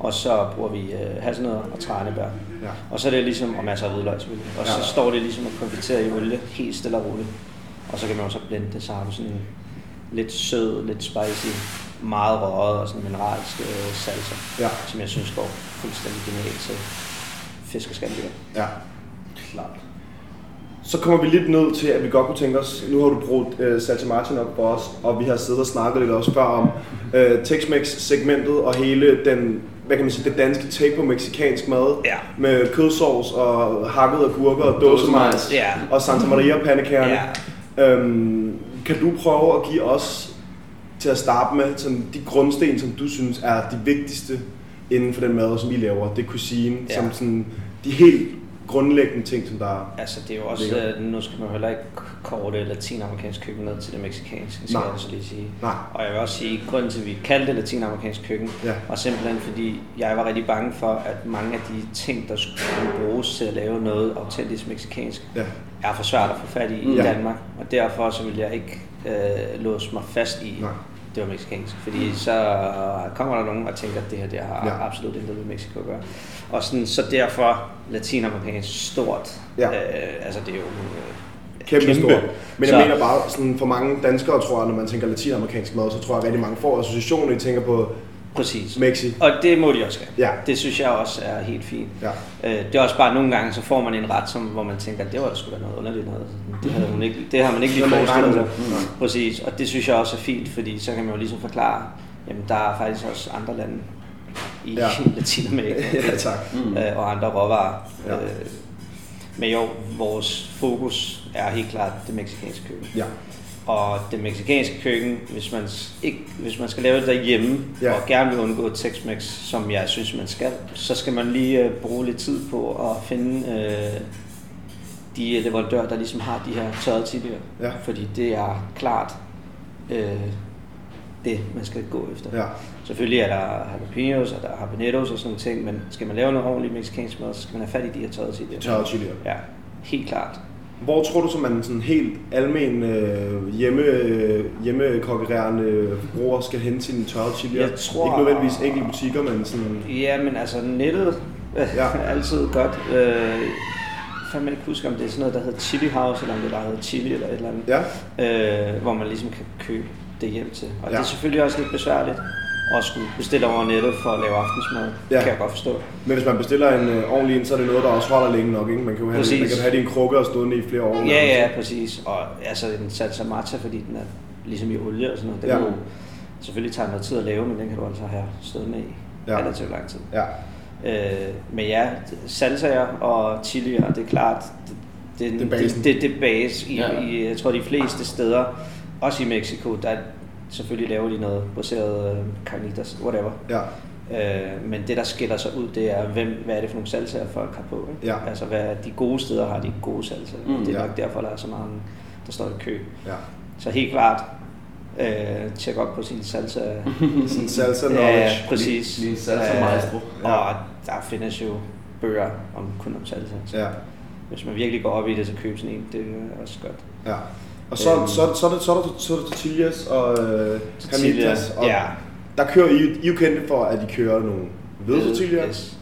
Speaker 5: Og så bruger vi øh, hasselnødder og tranebær.
Speaker 3: Ja.
Speaker 5: Og så er det ligesom, og masser af hvidløg selvfølgelig. Og
Speaker 3: Ja.
Speaker 5: så står det ligesom at konfitere i olie, helt stille og roligt. Og så kan man jo så blende det sammen sådan en lidt sød, lidt spicy, meget røget og sådan en mineralsk øh, salsa,
Speaker 3: Ja.
Speaker 5: som jeg synes går fuldstændig genialt til fisk og skaldyr.
Speaker 3: Ja. Klart. Så kommer vi lidt ned til, at vi godt kunne tænke os, nu har du brugt øh, Salsa Martin op for os, og vi har siddet og snakket lidt også før om øh, Tex-Mex-segmentet og hele den, hvad kan man sige, det danske take på meksikansk mad.
Speaker 5: Ja.
Speaker 3: Med kødsovs og hakkede agurker og dåsemajs
Speaker 5: Ja.
Speaker 3: og Santa Maria pandekærne. Ja. Øhm, kan du prøve at give os til at starte med sådan, de grundsten, som du synes er de vigtigste inden for den mad, som vi laver? Det er cuisine, ja.
Speaker 5: Ja.
Speaker 3: som sådan, de helt grundlæggende ting, som der er.
Speaker 5: Altså det er jo også,
Speaker 3: Lækkert.
Speaker 5: øh, nu skal man jo heller ikke korte latinamerikansk køkken ned til det meksikanske, skal
Speaker 3: Nej.
Speaker 5: Nej. jeg så lige sige.
Speaker 3: Nej.
Speaker 5: Og jeg vil også sige, at grunden til, at vi kaldte det latinamerikansk køkken,
Speaker 3: Ja.
Speaker 5: var simpelthen fordi, jeg var rigtig bange for, at mange af de ting, der skulle bruges til at lave noget autentisk meksikansk,
Speaker 3: Ja.
Speaker 5: er for svært at få fat i i
Speaker 3: Mm. Ja.
Speaker 5: Danmark. Og derfor så ville jeg ikke øh, låse mig fast i,
Speaker 3: Nej.
Speaker 5: det var meksikansk. Fordi så kommer der nogen og tænker, at det her det har
Speaker 3: Ja.
Speaker 5: ja. absolut intet med Mexico at gøre. Og sådan, så derfor latinamerikansk stort.
Speaker 3: Ja.
Speaker 5: Øh, altså det er jo... Øh,
Speaker 3: Kæmpe, Kæmpe. Stor. Men
Speaker 5: Så-
Speaker 3: jeg mener bare, sådan for mange danskere, tror jeg, når man tænker latinamerikansk mad, så tror jeg, at rigtig mange får associationer, de tænker på
Speaker 5: Præcis.
Speaker 3: Mexi.
Speaker 5: Og det må de også have.
Speaker 3: Ja.
Speaker 5: Det synes jeg også er helt fint.
Speaker 3: Ja.
Speaker 5: Øh, det er også bare nogle gange, så får man en ret, som, hvor man tænker, det var da sgu da noget underligt noget. Det, havde hun ikke, det har man ikke lige
Speaker 3: Det havde man ikke
Speaker 5: forestillet sig.
Speaker 3: regnet
Speaker 5: Mm. Præcis, og det synes jeg også er fint, fordi så kan man jo ligesom forklare, jamen der er faktisk også andre lande i
Speaker 3: Ja.
Speaker 5: ja. *laughs* Latinamerika
Speaker 3: *laughs* ja, tak.
Speaker 5: mm. øh, og andre råvarer.
Speaker 3: Ja.
Speaker 5: Ja. Øh, men jo, vores fokus er helt klart det meksikanske køkken.
Speaker 3: Ja.
Speaker 5: Og det meksikanske køkken, hvis man, s- ikke, hvis man skal lave det derhjemme,
Speaker 3: Ja.
Speaker 5: ja. og gerne vil undgå Tex-Mex, som jeg synes, man skal, så skal man lige øh, bruge lidt tid på at finde øh, de leverandører, der ligesom har de her tørrede tidligere.
Speaker 3: Ja.
Speaker 5: Fordi det er klart øh, det, man skal gå efter.
Speaker 3: Ja.
Speaker 5: Selvfølgelig er der jalapenos, og der er habaneros og sådan nogle ting, men skal man lave noget ordentligt mexicansk mad, så skal man have fat i de her tørrede chilier.
Speaker 3: Tørrede chilier.
Speaker 5: Ja, helt klart.
Speaker 3: Hvor tror du, som man sådan helt almen øh, hjemme, øh, hjemmekokkererende forbruger skal hente sine tørre chilier?
Speaker 5: Jeg tror-
Speaker 3: Ikke nødvendigvis enkelte butikker, men sådan...
Speaker 5: Ja, men altså nettet
Speaker 3: Ja.
Speaker 5: ja. er *laughs* altid godt. Øh, fandme ikke huske, om det er sådan noget, der hedder Chili House, eller om det er, der hedder Chili eller et eller andet.
Speaker 3: Ja,
Speaker 5: øh, hvor man ligesom kan købe det hjem til. Og
Speaker 3: Ja.
Speaker 5: ja. det er selvfølgelig også lidt besværligt at skulle bestille over nettet for at lave aftensmad.
Speaker 3: Ja.
Speaker 5: Ja. kan jeg godt forstå.
Speaker 3: men hvis man bestiller en øh, ordentlig en, så er det noget, der også holder længe nok, ikke? Man kan jo have,
Speaker 5: Præcis.
Speaker 3: man kan have din krukke og stående i flere år.
Speaker 5: Ja, ja, præcis. Og altså en salsa matcha, fordi den er ligesom i olie og sådan noget. Den
Speaker 3: Ja.
Speaker 5: ja. jo, selvfølgelig tager noget tid at lave, men den kan du altså have stående i
Speaker 3: Ja.
Speaker 5: ja. relativt lang tid.
Speaker 3: Ja,
Speaker 5: Øh, men ja, salsaer og chilier, det er klart, det, det,
Speaker 3: Det er
Speaker 5: det,
Speaker 3: basen.
Speaker 5: det, det, det er base i,
Speaker 4: Ja.
Speaker 5: ja. i, jeg tror de fleste steder, også i Mexico, der selvfølgelig laver de noget baseret øh, carnitas, whatever.
Speaker 3: ja,
Speaker 5: Øh, men det, der skiller sig ud, det er, hvem, hvad er det for nogle salsaer, folk har på. Ikke?
Speaker 3: Ja.
Speaker 5: Altså, hvad er de gode steder har de gode salsaer.
Speaker 4: Mm,
Speaker 5: Mm, det er
Speaker 3: ja.
Speaker 5: ja. nok derfor, der er så mange, der står i kø.
Speaker 3: ja.
Speaker 5: Så helt klart, øh, tjek op på sin salsa.
Speaker 3: *laughs* Sådan salsa
Speaker 5: ja,
Speaker 3: knowledge.
Speaker 5: præcis.
Speaker 4: Lige- lige salsa maestro.
Speaker 5: Øh, Og der findes jo bøger om kun om salsa. Så
Speaker 3: Ja,
Speaker 5: Hvis man virkelig går op i det, så køb sådan en. Det er også godt.
Speaker 3: ja. Og så,
Speaker 5: Øhm.
Speaker 3: så, så, så, er det- så, er der- så er der tortillas og øh, carnitas. Og
Speaker 5: ja.
Speaker 3: Der kører I, I er jo kendte for, at I kører nogle hvide tortillas.
Speaker 5: Yes.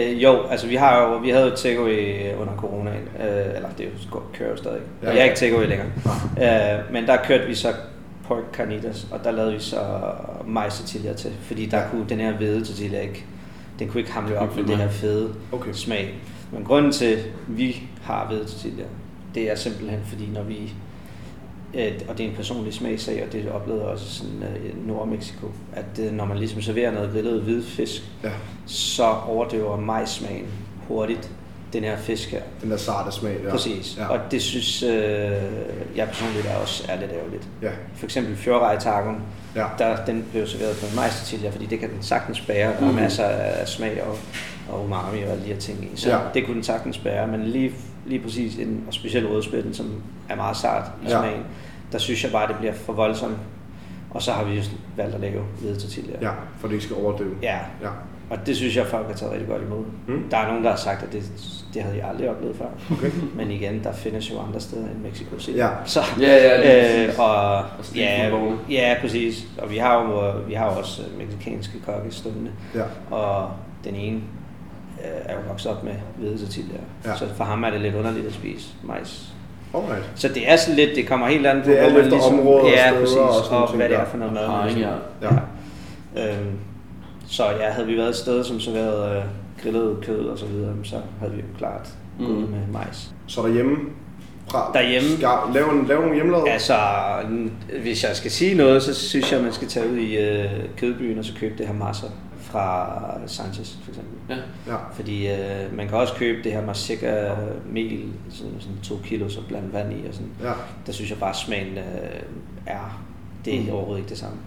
Speaker 5: Øh, jo, altså vi har jo, vi havde jo takeaway under coronaen, øh, eller det er jo, sk- kører jo stadig.
Speaker 3: Ja.
Speaker 5: Ja. Jeg er ikke takeaway længere. Øh, men der kørte vi så pork carnitas, og der lavede vi så majs tortilla til, fordi der
Speaker 3: Ja.
Speaker 5: ja. kunne den her hvide tortilla ikke, den kunne ikke hamle op
Speaker 4: Ikke
Speaker 5: med
Speaker 4: for
Speaker 5: det
Speaker 4: mig.
Speaker 5: her fede
Speaker 3: Okay.
Speaker 5: smag. Men grunden til, at vi har hvide tortilla, det er simpelthen fordi, når vi at, og det er en personlig smagsag, og det oplevede jeg også sådan, øh, i Nord-Mexico, at øh, når man ligesom serverer noget grillet hvidfisk,
Speaker 3: Ja,
Speaker 5: så overdøver majsmagen hurtigt den her fisk her.
Speaker 3: den der sarte smag der.
Speaker 5: Præcis.
Speaker 3: Ja.
Speaker 5: Og det synes øh, jeg personligt er også er lidt ærgerligt.
Speaker 3: Ja.
Speaker 5: For eksempel fjordrejtakken,
Speaker 3: Ja.
Speaker 5: der, den blev serveret på en majstortilla, fordi det kan den sagtens bære. Der er
Speaker 3: Mm.
Speaker 4: Mhm.
Speaker 5: masser af smag og, og umami og alle de her ting i. Så
Speaker 3: Ja.
Speaker 5: ja. det kunne den sagtens bære, men lige, lige præcis en og speciel rødspætten, som er meget sart i
Speaker 3: Ja.
Speaker 5: smagen, der synes jeg bare, det bliver for voldsomt. Og så har vi jo valgt at lave hvide tortilla.
Speaker 3: ja, for det ikke skal overdøve.
Speaker 5: ja,
Speaker 3: ja.
Speaker 5: og det synes jeg, folk har taget rigtig godt imod.
Speaker 3: Mm.
Speaker 5: Mm. Der er nogen, der har sagt, at det, det havde jeg aldrig oplevet før.
Speaker 3: Okay.
Speaker 5: Men igen, der findes jo andre steder end Mexico City.
Speaker 3: Ja.
Speaker 5: Så,
Speaker 4: Ja, ja, lige præcis.
Speaker 5: øh, og,
Speaker 4: Og street
Speaker 5: ja,
Speaker 4: foodvogne.
Speaker 5: ja, præcis. Og vi har jo, vi har jo også øh, mexicanske kokke stående.
Speaker 3: Ja.
Speaker 5: Og den ene øh, er jo vokset op med hvide tortilla.
Speaker 3: Ja.
Speaker 5: Ja. Så for ham er det lidt underligt at spise majs.
Speaker 3: Alright.
Speaker 5: Så det er sådan lidt, det kommer helt an på,
Speaker 3: Det er alt
Speaker 5: man ligesom-
Speaker 3: efter område og
Speaker 5: ja,
Speaker 3: steder og
Speaker 5: præcis,
Speaker 3: sådan nogle
Speaker 5: og,
Speaker 3: ting
Speaker 5: hvad det
Speaker 3: der.
Speaker 5: er for noget mad. man
Speaker 4: Parring,
Speaker 5: ligesom-
Speaker 4: ja.
Speaker 3: Ja.
Speaker 5: Øhm, så ja, havde vi været et sted, som serverede øh, grillet kød og så videre, så havde vi jo klart
Speaker 4: Mm.
Speaker 5: gået med majs.
Speaker 3: Så derhjemme, fra,
Speaker 5: Derhjemme?
Speaker 3: Skal, lave, en- lave nogle hjemmelavede?
Speaker 5: Altså, n- hvis jeg skal sige noget, så synes jeg, man skal tage ud i øh, kødbyen og så købe det her massa fra Sanchez for eksempel.
Speaker 4: Ja.
Speaker 3: Ja.
Speaker 5: Fordi øh, man kan også købe det her massikker mel, sådan, sådan to kilo, så blandt vand i og sådan.
Speaker 3: ja.
Speaker 5: Der synes jeg bare, smagen øh, er, det er
Speaker 4: Mm.
Speaker 5: overhovedet ikke det samme.
Speaker 3: Så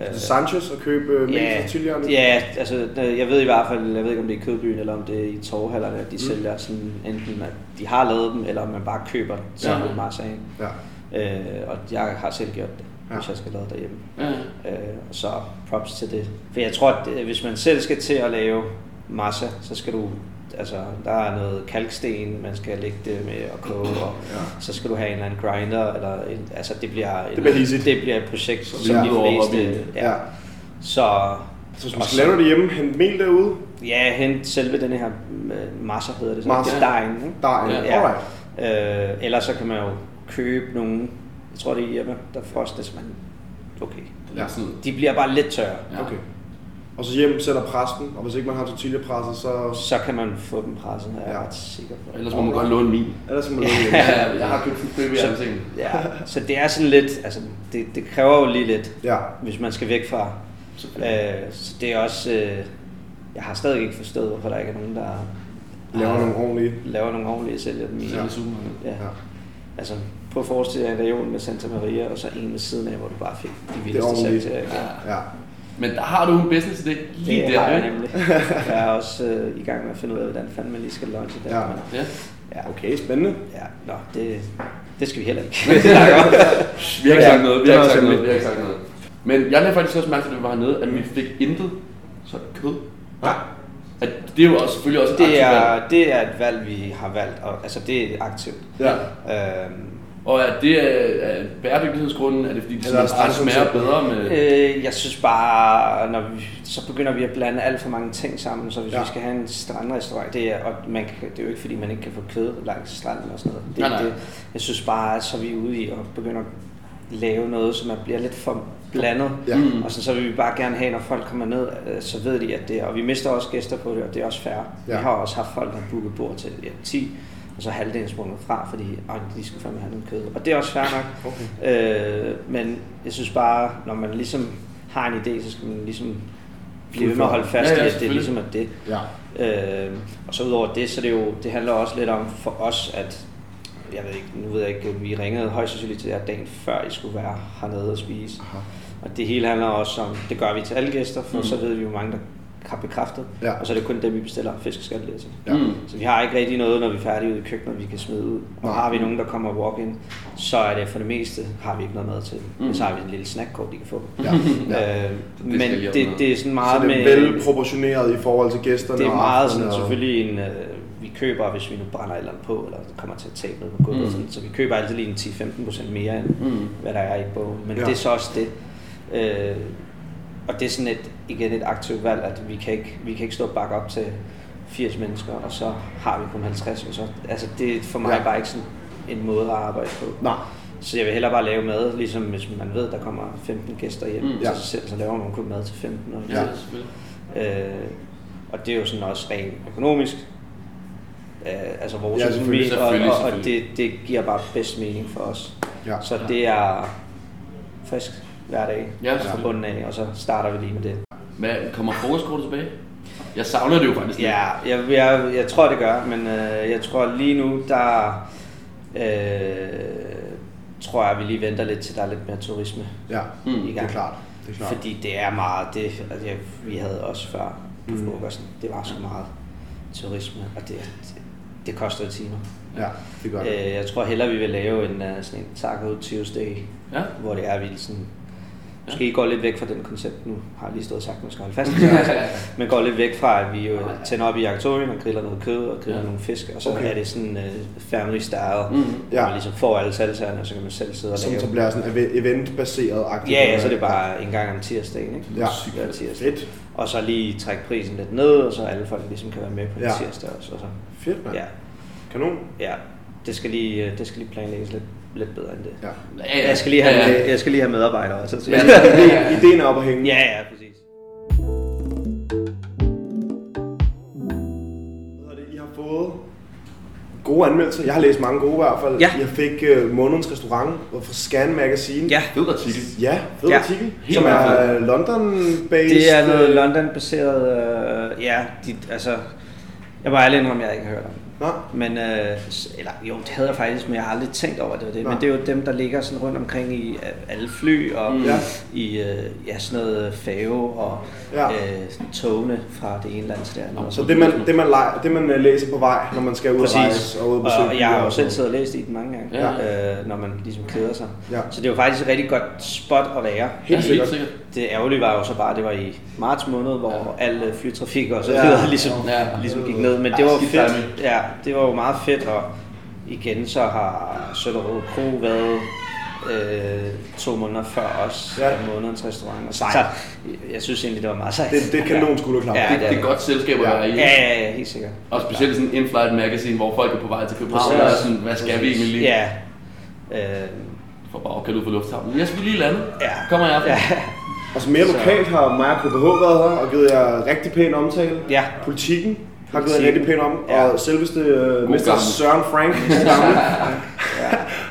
Speaker 5: Øh,
Speaker 3: Altså Sanchez og købe øh, mel
Speaker 5: Ja,
Speaker 3: fra Tillierne?
Speaker 5: ja, altså øh, jeg ved i hvert fald, jeg ved ikke om det er i Kødbyen eller om det er i Torvhallerne, at de mm. sælger sådan enten at de har lavet dem, eller om man bare køber dem sammen
Speaker 4: Ja.
Speaker 5: ja. med massaen.
Speaker 3: ja.
Speaker 5: Øh, og jeg har selv gjort det,
Speaker 3: Ja.
Speaker 5: ja. hvis jeg skal lave derhjemme.
Speaker 4: Ja.
Speaker 5: Øh, så props til det. For jeg tror, at øh, hvis man selv skal til at lave massa, så skal du Altså, der er noget kalksten, man skal lægge det med at koge, og
Speaker 3: Ja.
Speaker 5: ja. så skal du have en eller anden grinder, eller en, altså det bliver, en,
Speaker 3: Det bliver hidsigt.
Speaker 5: det bliver et projekt,
Speaker 4: Så
Speaker 5: som
Speaker 3: vi er
Speaker 5: de
Speaker 4: ude over
Speaker 5: fleste,
Speaker 4: hobbyen.
Speaker 5: ja.
Speaker 3: Ja.
Speaker 5: Så,
Speaker 3: Så hvis
Speaker 5: og
Speaker 3: man skal lave det derhjemme, hente mel derude,
Speaker 5: Ja, hente selve den her øh, massa hedder det så.
Speaker 3: Masa.
Speaker 5: Det er dejen, ikke?
Speaker 3: der er en.
Speaker 4: Ja.
Speaker 3: Ja. Alright.
Speaker 5: Øh, ellers så kan man jo købe nogle, jeg tror det er Irma, der frostes, men okay.
Speaker 4: Det er sådan,
Speaker 5: De bliver bare lidt tørre.
Speaker 4: ja.
Speaker 3: Okay. Og så hjem sætter præsten, og hvis ikke man har tortillapresser, så...
Speaker 5: Så kan man få dem presset, er jeg
Speaker 3: Ja.
Speaker 5: ret sikker på.
Speaker 4: Ellers må man godt låne min.
Speaker 3: Ellers må man lave
Speaker 4: Ja,
Speaker 3: hjemme.
Speaker 4: jeg *laughs* har købt en baby af ting.
Speaker 5: Ja, så det er sådan lidt, altså det, det kræver jo lige lidt,
Speaker 3: Ja.
Speaker 5: hvis man skal væk fra. Øh, så det er også, øh, jeg har stadig ikke forstået, hvorfor der ikke er nogen, der
Speaker 3: Laver nogle ordentlige.
Speaker 5: laver nogle ordentlige sælger dem i.
Speaker 4: Ja.
Speaker 5: Ja.
Speaker 3: Ja.
Speaker 5: Altså, prøv at forestille dig en region med Santa Maria, og så en ved siden af, hvor du bare fik de vildeste
Speaker 3: ordentligt.
Speaker 5: salgserier.
Speaker 4: Ja.
Speaker 3: Ja.
Speaker 4: Men der har du en business idé lige
Speaker 5: Ah, det
Speaker 4: der,
Speaker 5: har jeg
Speaker 4: ikke?
Speaker 5: nemlig. Jeg er også øh, i gang med at finde ud af, hvordan fanden man lige skal launche det.
Speaker 3: Ja.
Speaker 5: Men,
Speaker 4: Ja.
Speaker 5: Ja.
Speaker 3: Okay, spændende.
Speaker 5: Ja, nå, det, *laughs* det skal vi heller ikke snakke om.
Speaker 4: Vi har ikke sagt noget, vi har
Speaker 3: Det er
Speaker 4: ikke sagt
Speaker 3: simpelthen.
Speaker 4: noget, vi har ikke sagt noget. Men jeg lagde faktisk også mærke til, at vi var hernede, at vi fik intet sådan kød.
Speaker 3: Nej.
Speaker 4: At det er jo også, selvfølgelig også et
Speaker 5: Det
Speaker 4: aktivt valg.
Speaker 5: er, det er et valg, vi har valgt, og, altså det er aktivt.
Speaker 3: Ja.
Speaker 5: Øhm,
Speaker 4: Og at det er, er bæredygtighedsgrunden, er det fordi, det
Speaker 3: Eller
Speaker 4: sådan,
Speaker 3: er det
Speaker 4: at smager
Speaker 3: sådan
Speaker 4: bedre med...
Speaker 5: øh, jeg synes bare, når vi, så begynder vi at blande alt for mange ting sammen, så hvis
Speaker 3: Ja.
Speaker 5: ja. vi skal have en strandrestaurant, det er, og man, kan- det er jo ikke fordi, man ikke kan få kød langs stranden og sådan noget. Det, er
Speaker 4: Nej,
Speaker 5: ikke
Speaker 4: nej.
Speaker 5: Det, jeg synes bare, så er vi ude i at begynde at lave noget, som er, bliver lidt for blandet.
Speaker 3: Ja.
Speaker 4: Mm.
Speaker 5: Og sådan, så vil vi bare gerne have, når folk kommer ned, øh, så ved de, at det er, og vi mister også gæster på det, og det er også fair.
Speaker 3: Ja.
Speaker 5: Ja. Vi har også haft folk, der har booket bord til ja, 10, og så er halvdelen sprunget fra, fordi "Ej, de skal fandme have noget kød. Og det er også fair nok. Okay. Øh, men jeg synes bare, når man ligesom har en idé, så skal man ligesom blive ved med at holde fast
Speaker 4: Ja,
Speaker 5: ja,
Speaker 4: ja,
Speaker 5: ja, i, at det er
Speaker 4: selvfølgelig.
Speaker 5: ligesom at det.
Speaker 3: Ja.
Speaker 5: Øh, og så udover det, så det jo, det handler også lidt om for os, at jeg ved ikke, nu ved jeg ikke, vi ringede højst sandsynligt til jer dagen før, I skulle være hernede og spise.
Speaker 3: Aha.
Speaker 5: Og det hele handler også om, det gør vi til alle gæster, for mm. så ved vi jo mange, der har bekræftet.
Speaker 3: Ja.
Speaker 5: Og så er det kun dem, vi bestiller fiskeskattelæger til.
Speaker 3: Ja.
Speaker 4: Mm.
Speaker 5: Så vi har ikke rigtig noget, når vi er færdige ude i køkkenet, vi kan smide ud. Og
Speaker 3: Nej.
Speaker 5: har vi nogen, der kommer og walk-in, så er det for det meste, har vi ikke noget mad til. Mm. Men så har vi en lille snackkort, de kan få. *laughs*
Speaker 3: Ja. ja.
Speaker 5: Øh, men
Speaker 4: skal lige op
Speaker 5: det,
Speaker 4: med.
Speaker 5: det, er sådan meget
Speaker 3: så det er
Speaker 5: med...
Speaker 3: velproportioneret i forhold til gæsterne.
Speaker 5: Det er
Speaker 3: og
Speaker 5: meget
Speaker 3: aftenerne
Speaker 5: sådan,
Speaker 3: og-
Speaker 5: selvfølgelig en, øh, vi køber, hvis vi nu brænder et eller andet på, eller kommer til at tabe noget på gulvet,
Speaker 4: Mm.
Speaker 5: mm. sådan, så vi køber altid lige en 10-15 procent mere, end
Speaker 4: Mm.
Speaker 5: hvad der er i bogen. Men
Speaker 3: Ja.
Speaker 5: ja. det er så også det. Øh, og det er sådan et, igen et aktivt valg, at vi kan ikke, vi kan ikke stå og bakke op til 80 mennesker, og så har vi kun 50. Og så, altså det er for mig
Speaker 3: Ja.
Speaker 5: ja. bare ikke sådan en måde at arbejde på.
Speaker 3: Nej.
Speaker 5: Så jeg vil hellere bare lave mad, ligesom hvis man ved, der kommer 15 gæster hjem
Speaker 4: Mm.
Speaker 5: mm,
Speaker 3: Ja.
Speaker 5: til sig selv, så laver man kun mad til 15. Og
Speaker 4: Ja, selvfølgelig.
Speaker 5: Øh, og det er jo sådan også rent økonomisk. Øh, altså vores
Speaker 3: Ja,
Speaker 5: økonomi,
Speaker 3: selvfølgelig,
Speaker 4: selvfølgelig,
Speaker 5: og, og, og det,
Speaker 4: selvfølgelig.
Speaker 5: det giver bare bedst mening for os.
Speaker 3: Ja.
Speaker 5: Så det er frisk hver dag
Speaker 4: Ja,
Speaker 5: fra
Speaker 4: selvfølgelig.
Speaker 5: bunden af, og så starter vi lige med det.
Speaker 4: Hvad, kommer frokostkortet tilbage? Jeg savner det jo faktisk lidt.
Speaker 5: Ja, jeg, jeg, jeg tror det gør, men øh, jeg tror lige nu, der øh, tror jeg, vi lige venter lidt til, der er lidt mere turisme
Speaker 3: Ja.
Speaker 4: Mm,
Speaker 5: i
Speaker 3: Det er
Speaker 5: gang.
Speaker 3: klart. Det er klart.
Speaker 5: Fordi det er meget det, altså, jeg, vi havde også før på mm. frokosten, det var så meget turisme, og det, det, det koster jo timer.
Speaker 3: Ja, det gør det.
Speaker 5: Øh, jeg tror hellere, vi vil lave en øh, sådan en Taco Tuesday,
Speaker 4: Ja.
Speaker 5: hvor det er, at vi sådan, måske går lidt væk fra den koncept, nu har jeg lige stået og sagt, at man skal holde
Speaker 4: *laughs*
Speaker 5: fast i det, altså, men går lidt væk fra, at vi jo tænder op i jaktorien og griller noget kød og griller
Speaker 4: Ja.
Speaker 5: ja. nogle fisk, og så
Speaker 3: Okay.
Speaker 5: okay. er det sådan øh, family style,
Speaker 4: Mm.
Speaker 5: mm.
Speaker 3: Ja.
Speaker 5: hvor man ligesom får alle salsaerne, og så kan man selv sidde og
Speaker 3: Som
Speaker 5: lave.
Speaker 3: så bliver sådan ev- eventbaseret aktivt.
Speaker 5: Ja, ja, så er det bare en gang om tirsdagen, ikke?
Speaker 3: Ja.
Speaker 5: Hver tirsdag.
Speaker 3: Fedt.
Speaker 5: Og så lige trække prisen lidt ned, og så alle folk ligesom kan være med på en
Speaker 3: Ja.
Speaker 5: ja. tirsdag også. Og så.
Speaker 3: Fedt, mand.
Speaker 5: Ja,
Speaker 3: Kanon.
Speaker 5: ja. Det skal lige, øh, det skal lige planlægges lidt, lidt bedre end det.
Speaker 3: Ja.
Speaker 4: Ja, ja.
Speaker 5: Jeg skal lige have,
Speaker 4: Ja, ja.
Speaker 5: jeg skal lige have medarbejdere også.
Speaker 3: Men
Speaker 5: Ja,
Speaker 3: ideen- ideen er op at hænge.
Speaker 5: ja, præcis.
Speaker 3: Hvad hedder det? I har fået gode anmeldelser. Jeg har læst mange gode i hvert fald.
Speaker 5: Ja.
Speaker 3: Jeg fik uh, månedens restaurant øh, fra Scan Magazine.
Speaker 5: Ja,
Speaker 4: Fed artikel.
Speaker 3: Ja, fed
Speaker 5: Ja.
Speaker 3: artikel.
Speaker 4: Helt
Speaker 3: som er
Speaker 4: vildt.
Speaker 3: London-based.
Speaker 5: Det er noget
Speaker 3: øh,
Speaker 5: London-baseret, øh, ja, de, altså, jeg må ærlig indrømme, jeg ikke har hørt om. det.
Speaker 3: Nå,
Speaker 5: Men, øh, s- eller jo, det havde jeg faktisk, men jeg har aldrig tænkt over at det. Var det.
Speaker 3: Nej.
Speaker 5: Men det er jo dem, der ligger sådan rundt omkring i øh, alle fly og
Speaker 4: Mm.
Speaker 5: mm. i øh, ja, sådan noget fave og
Speaker 3: Ja.
Speaker 5: ja. øh, togene fra det ene land til det andet.
Speaker 4: Nå,
Speaker 5: Og
Speaker 3: så det man, det, man, leger, det, man øh, læser på vej, når man skal ud og
Speaker 5: Præcis.
Speaker 3: rejse og ud og besøge.
Speaker 5: Og jeg har
Speaker 3: byer
Speaker 5: jo
Speaker 3: og
Speaker 5: selv
Speaker 3: sådan
Speaker 5: siddet og læst i den mange gange,
Speaker 4: Ja.
Speaker 5: ja. øh, når man ligesom keder sig.
Speaker 3: Ja.
Speaker 5: Så det var faktisk et rigtig godt spot at være.
Speaker 4: Ja,
Speaker 3: Helt sikkert.
Speaker 5: Det ærgerlige var jo så bare, at det var i marts måned, hvor ja. al øh, flytrafik og så
Speaker 3: Ja.
Speaker 5: videre ja. ligesom,
Speaker 4: Ja.
Speaker 5: ja. ligesom gik ned. Men
Speaker 4: Ja,
Speaker 5: det var
Speaker 4: skidt
Speaker 5: fedt.
Speaker 4: timing.
Speaker 5: Ja, det var jo meget fedt. Og igen så har Sønderød Kro været øh, to måneder før os,
Speaker 3: Ja.
Speaker 5: ja. månedens restaurant. Og så,
Speaker 3: Sejt.
Speaker 5: så, jeg synes egentlig, det var meget sejt.
Speaker 3: noget. Det, det er kanon skulderklap.
Speaker 5: Ja,
Speaker 4: Det,
Speaker 5: er
Speaker 4: det er
Speaker 5: det.
Speaker 4: godt selskab at
Speaker 3: Ja.
Speaker 4: være i.
Speaker 5: Ja, ja, ja, helt sikkert.
Speaker 4: Og specielt sådan en in-flight magazine, hvor folk er på vej til København,
Speaker 5: Præcis.
Speaker 4: og er sådan, hvad skal vi egentlig lige?
Speaker 5: Ja. Øh,
Speaker 4: For bare kan ud fra lufthavnen. Jeg skal lige lande.
Speaker 5: Ja.
Speaker 4: Kommer jeg aften.
Speaker 5: ja.
Speaker 3: Altså mere lokalt har Maja KBH været her og givet jer rigtig pæn omtale.
Speaker 5: Ja.
Speaker 3: Politikken har givet jer
Speaker 5: Politiken.
Speaker 3: rigtig pæn om.
Speaker 5: Ja.
Speaker 3: Og selveste øh, Mr.
Speaker 4: gammel.
Speaker 3: Søren
Speaker 5: *laughs*
Speaker 3: Frank god gammel,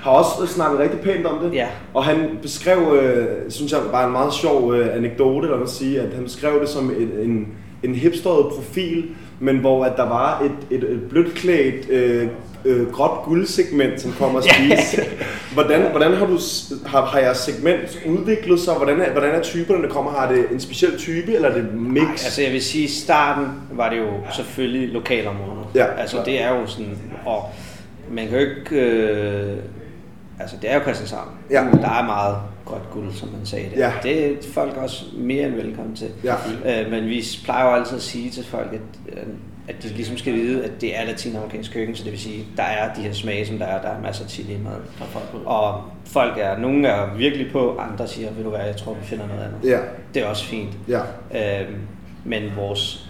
Speaker 3: har også snakket rigtig pænt om det.
Speaker 5: Ja.
Speaker 3: Og han beskrev, øh, synes jeg bare en meget sjov øh, anekdote, eller man sige, at han beskrev det som en, en, en hipsteret profil, men hvor at der var et, et, et blødt klædt øh, øh, gråt guldsegment, som kommer og spise. hvordan, hvordan har, du, s- har, har jeres segment udviklet sig? Hvordan er, hvordan er typerne, der kommer? Har det en speciel type, eller er det mix?
Speaker 5: Ej, altså jeg vil sige, i starten var det jo selvfølgelig lokalområdet.
Speaker 3: Ja,
Speaker 5: altså
Speaker 3: klart.
Speaker 5: det er jo sådan, og man kan jo ikke... Øh, altså, det er jo Christianshavn.
Speaker 3: Ja.
Speaker 5: Men Der er meget godt guld, som man sagde der.
Speaker 3: Ja.
Speaker 5: Det er folk også mere end velkommen til.
Speaker 3: Ja.
Speaker 5: Øh, men vi plejer jo altid at sige til folk, at, øh, at de ligesom skal vide, at det er latinamerikansk køkken, så det vil sige, der er de her smage, som der er. Der er masser af chili i maden.
Speaker 4: Der er folk på.
Speaker 5: Og folk er, nogle er virkelig på, andre siger, vil du være, jeg tror, vi finder noget andet.
Speaker 3: Ja.
Speaker 5: Det er også fint.
Speaker 3: Ja.
Speaker 5: Øhm, men vores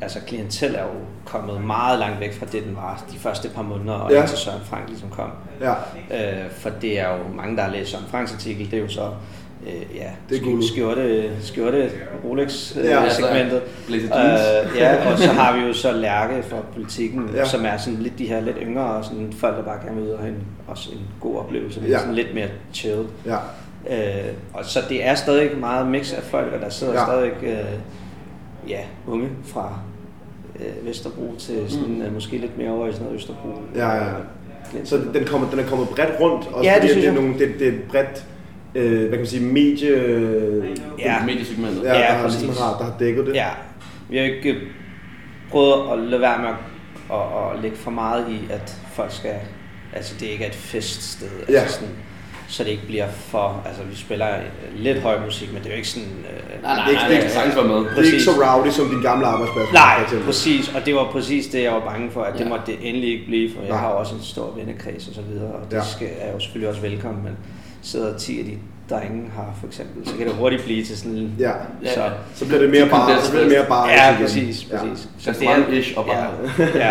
Speaker 5: altså, klientel er jo kommet meget langt væk fra det, den var de første par måneder, og
Speaker 3: Ja.
Speaker 5: ja. indtil Søren Frank ligesom kom.
Speaker 3: Ja.
Speaker 5: Øh, for det er jo mange, der har læst Søren Franks artikel, det er jo så øh, ja,
Speaker 3: Det er
Speaker 5: sk-
Speaker 3: guld.
Speaker 5: skjorte, skjorte
Speaker 3: Ja,
Speaker 5: Rolex-segmentet. Øh,
Speaker 3: altså,
Speaker 5: segmentet.
Speaker 4: blæse jeans.
Speaker 5: øh, ja, og så har vi jo så Lærke fra politikken,
Speaker 3: Ja.
Speaker 5: ja. som er sådan lidt de her lidt yngre, og sådan folk, der bare gerne vil ud og have en, også en god oplevelse, men
Speaker 3: Ja.
Speaker 5: ja. sådan lidt mere chill.
Speaker 3: Ja.
Speaker 5: Øh, og så det er stadig meget mix af folk, og der sidder
Speaker 3: Ja.
Speaker 5: ja. stadig øh, ja, unge fra øh, Vesterbro til sådan, mm. øh, måske lidt mere over i sådan noget Østerbro.
Speaker 3: Ja, ja.
Speaker 5: Lidt
Speaker 3: Så
Speaker 5: sådan-
Speaker 3: den, kommer, den er kommet bredt rundt, og
Speaker 5: Ja, det
Speaker 3: det,
Speaker 5: synes
Speaker 3: det, er
Speaker 5: jeg.
Speaker 3: nogle, det, det er et bredt, øh, hvad kan man sige, medie,
Speaker 5: ja.
Speaker 4: Mediesegmentet.
Speaker 3: ja,
Speaker 4: Ja.
Speaker 3: der, har,
Speaker 5: præcis.
Speaker 3: ligesom har, der har dækket det.
Speaker 5: Ja, vi har jo ikke øh, prøvet at lade være med at, at, at lægge for meget i, at folk skal, altså det ikke er et feststed, altså
Speaker 3: Ja.
Speaker 5: sådan, så det ikke bliver for, altså vi spiller øh, lidt høj musik, men det er jo ikke sådan, øh,
Speaker 4: Nej, nej,
Speaker 3: Det er ikke-
Speaker 4: nej, det kan sagtens være med.
Speaker 3: Det er ikke
Speaker 5: præcis.
Speaker 3: så rowdy som din gamle arbejdsplads. for
Speaker 5: Nej,
Speaker 3: eksempel.
Speaker 5: præcis, og det var præcis det, jeg var bange for, at det
Speaker 4: Ja.
Speaker 5: måtte det endelig ikke blive, for jeg
Speaker 3: Nej.
Speaker 5: har jo også en stor vennekreds og så videre, og det
Speaker 3: Ja.
Speaker 5: skal, er jo selvfølgelig også velkommen, men sidder 10 af de drenge her for eksempel, så kan det hurtigt blive til sådan en...
Speaker 3: Ja.
Speaker 5: Så,
Speaker 4: Ja.
Speaker 3: Så bliver det mere
Speaker 4: Det kom der
Speaker 3: bare, så bliver det mere bare
Speaker 5: ja, præcis,
Speaker 3: Ja.
Speaker 5: præcis.
Speaker 4: Så det er ish og bare.
Speaker 5: Ja.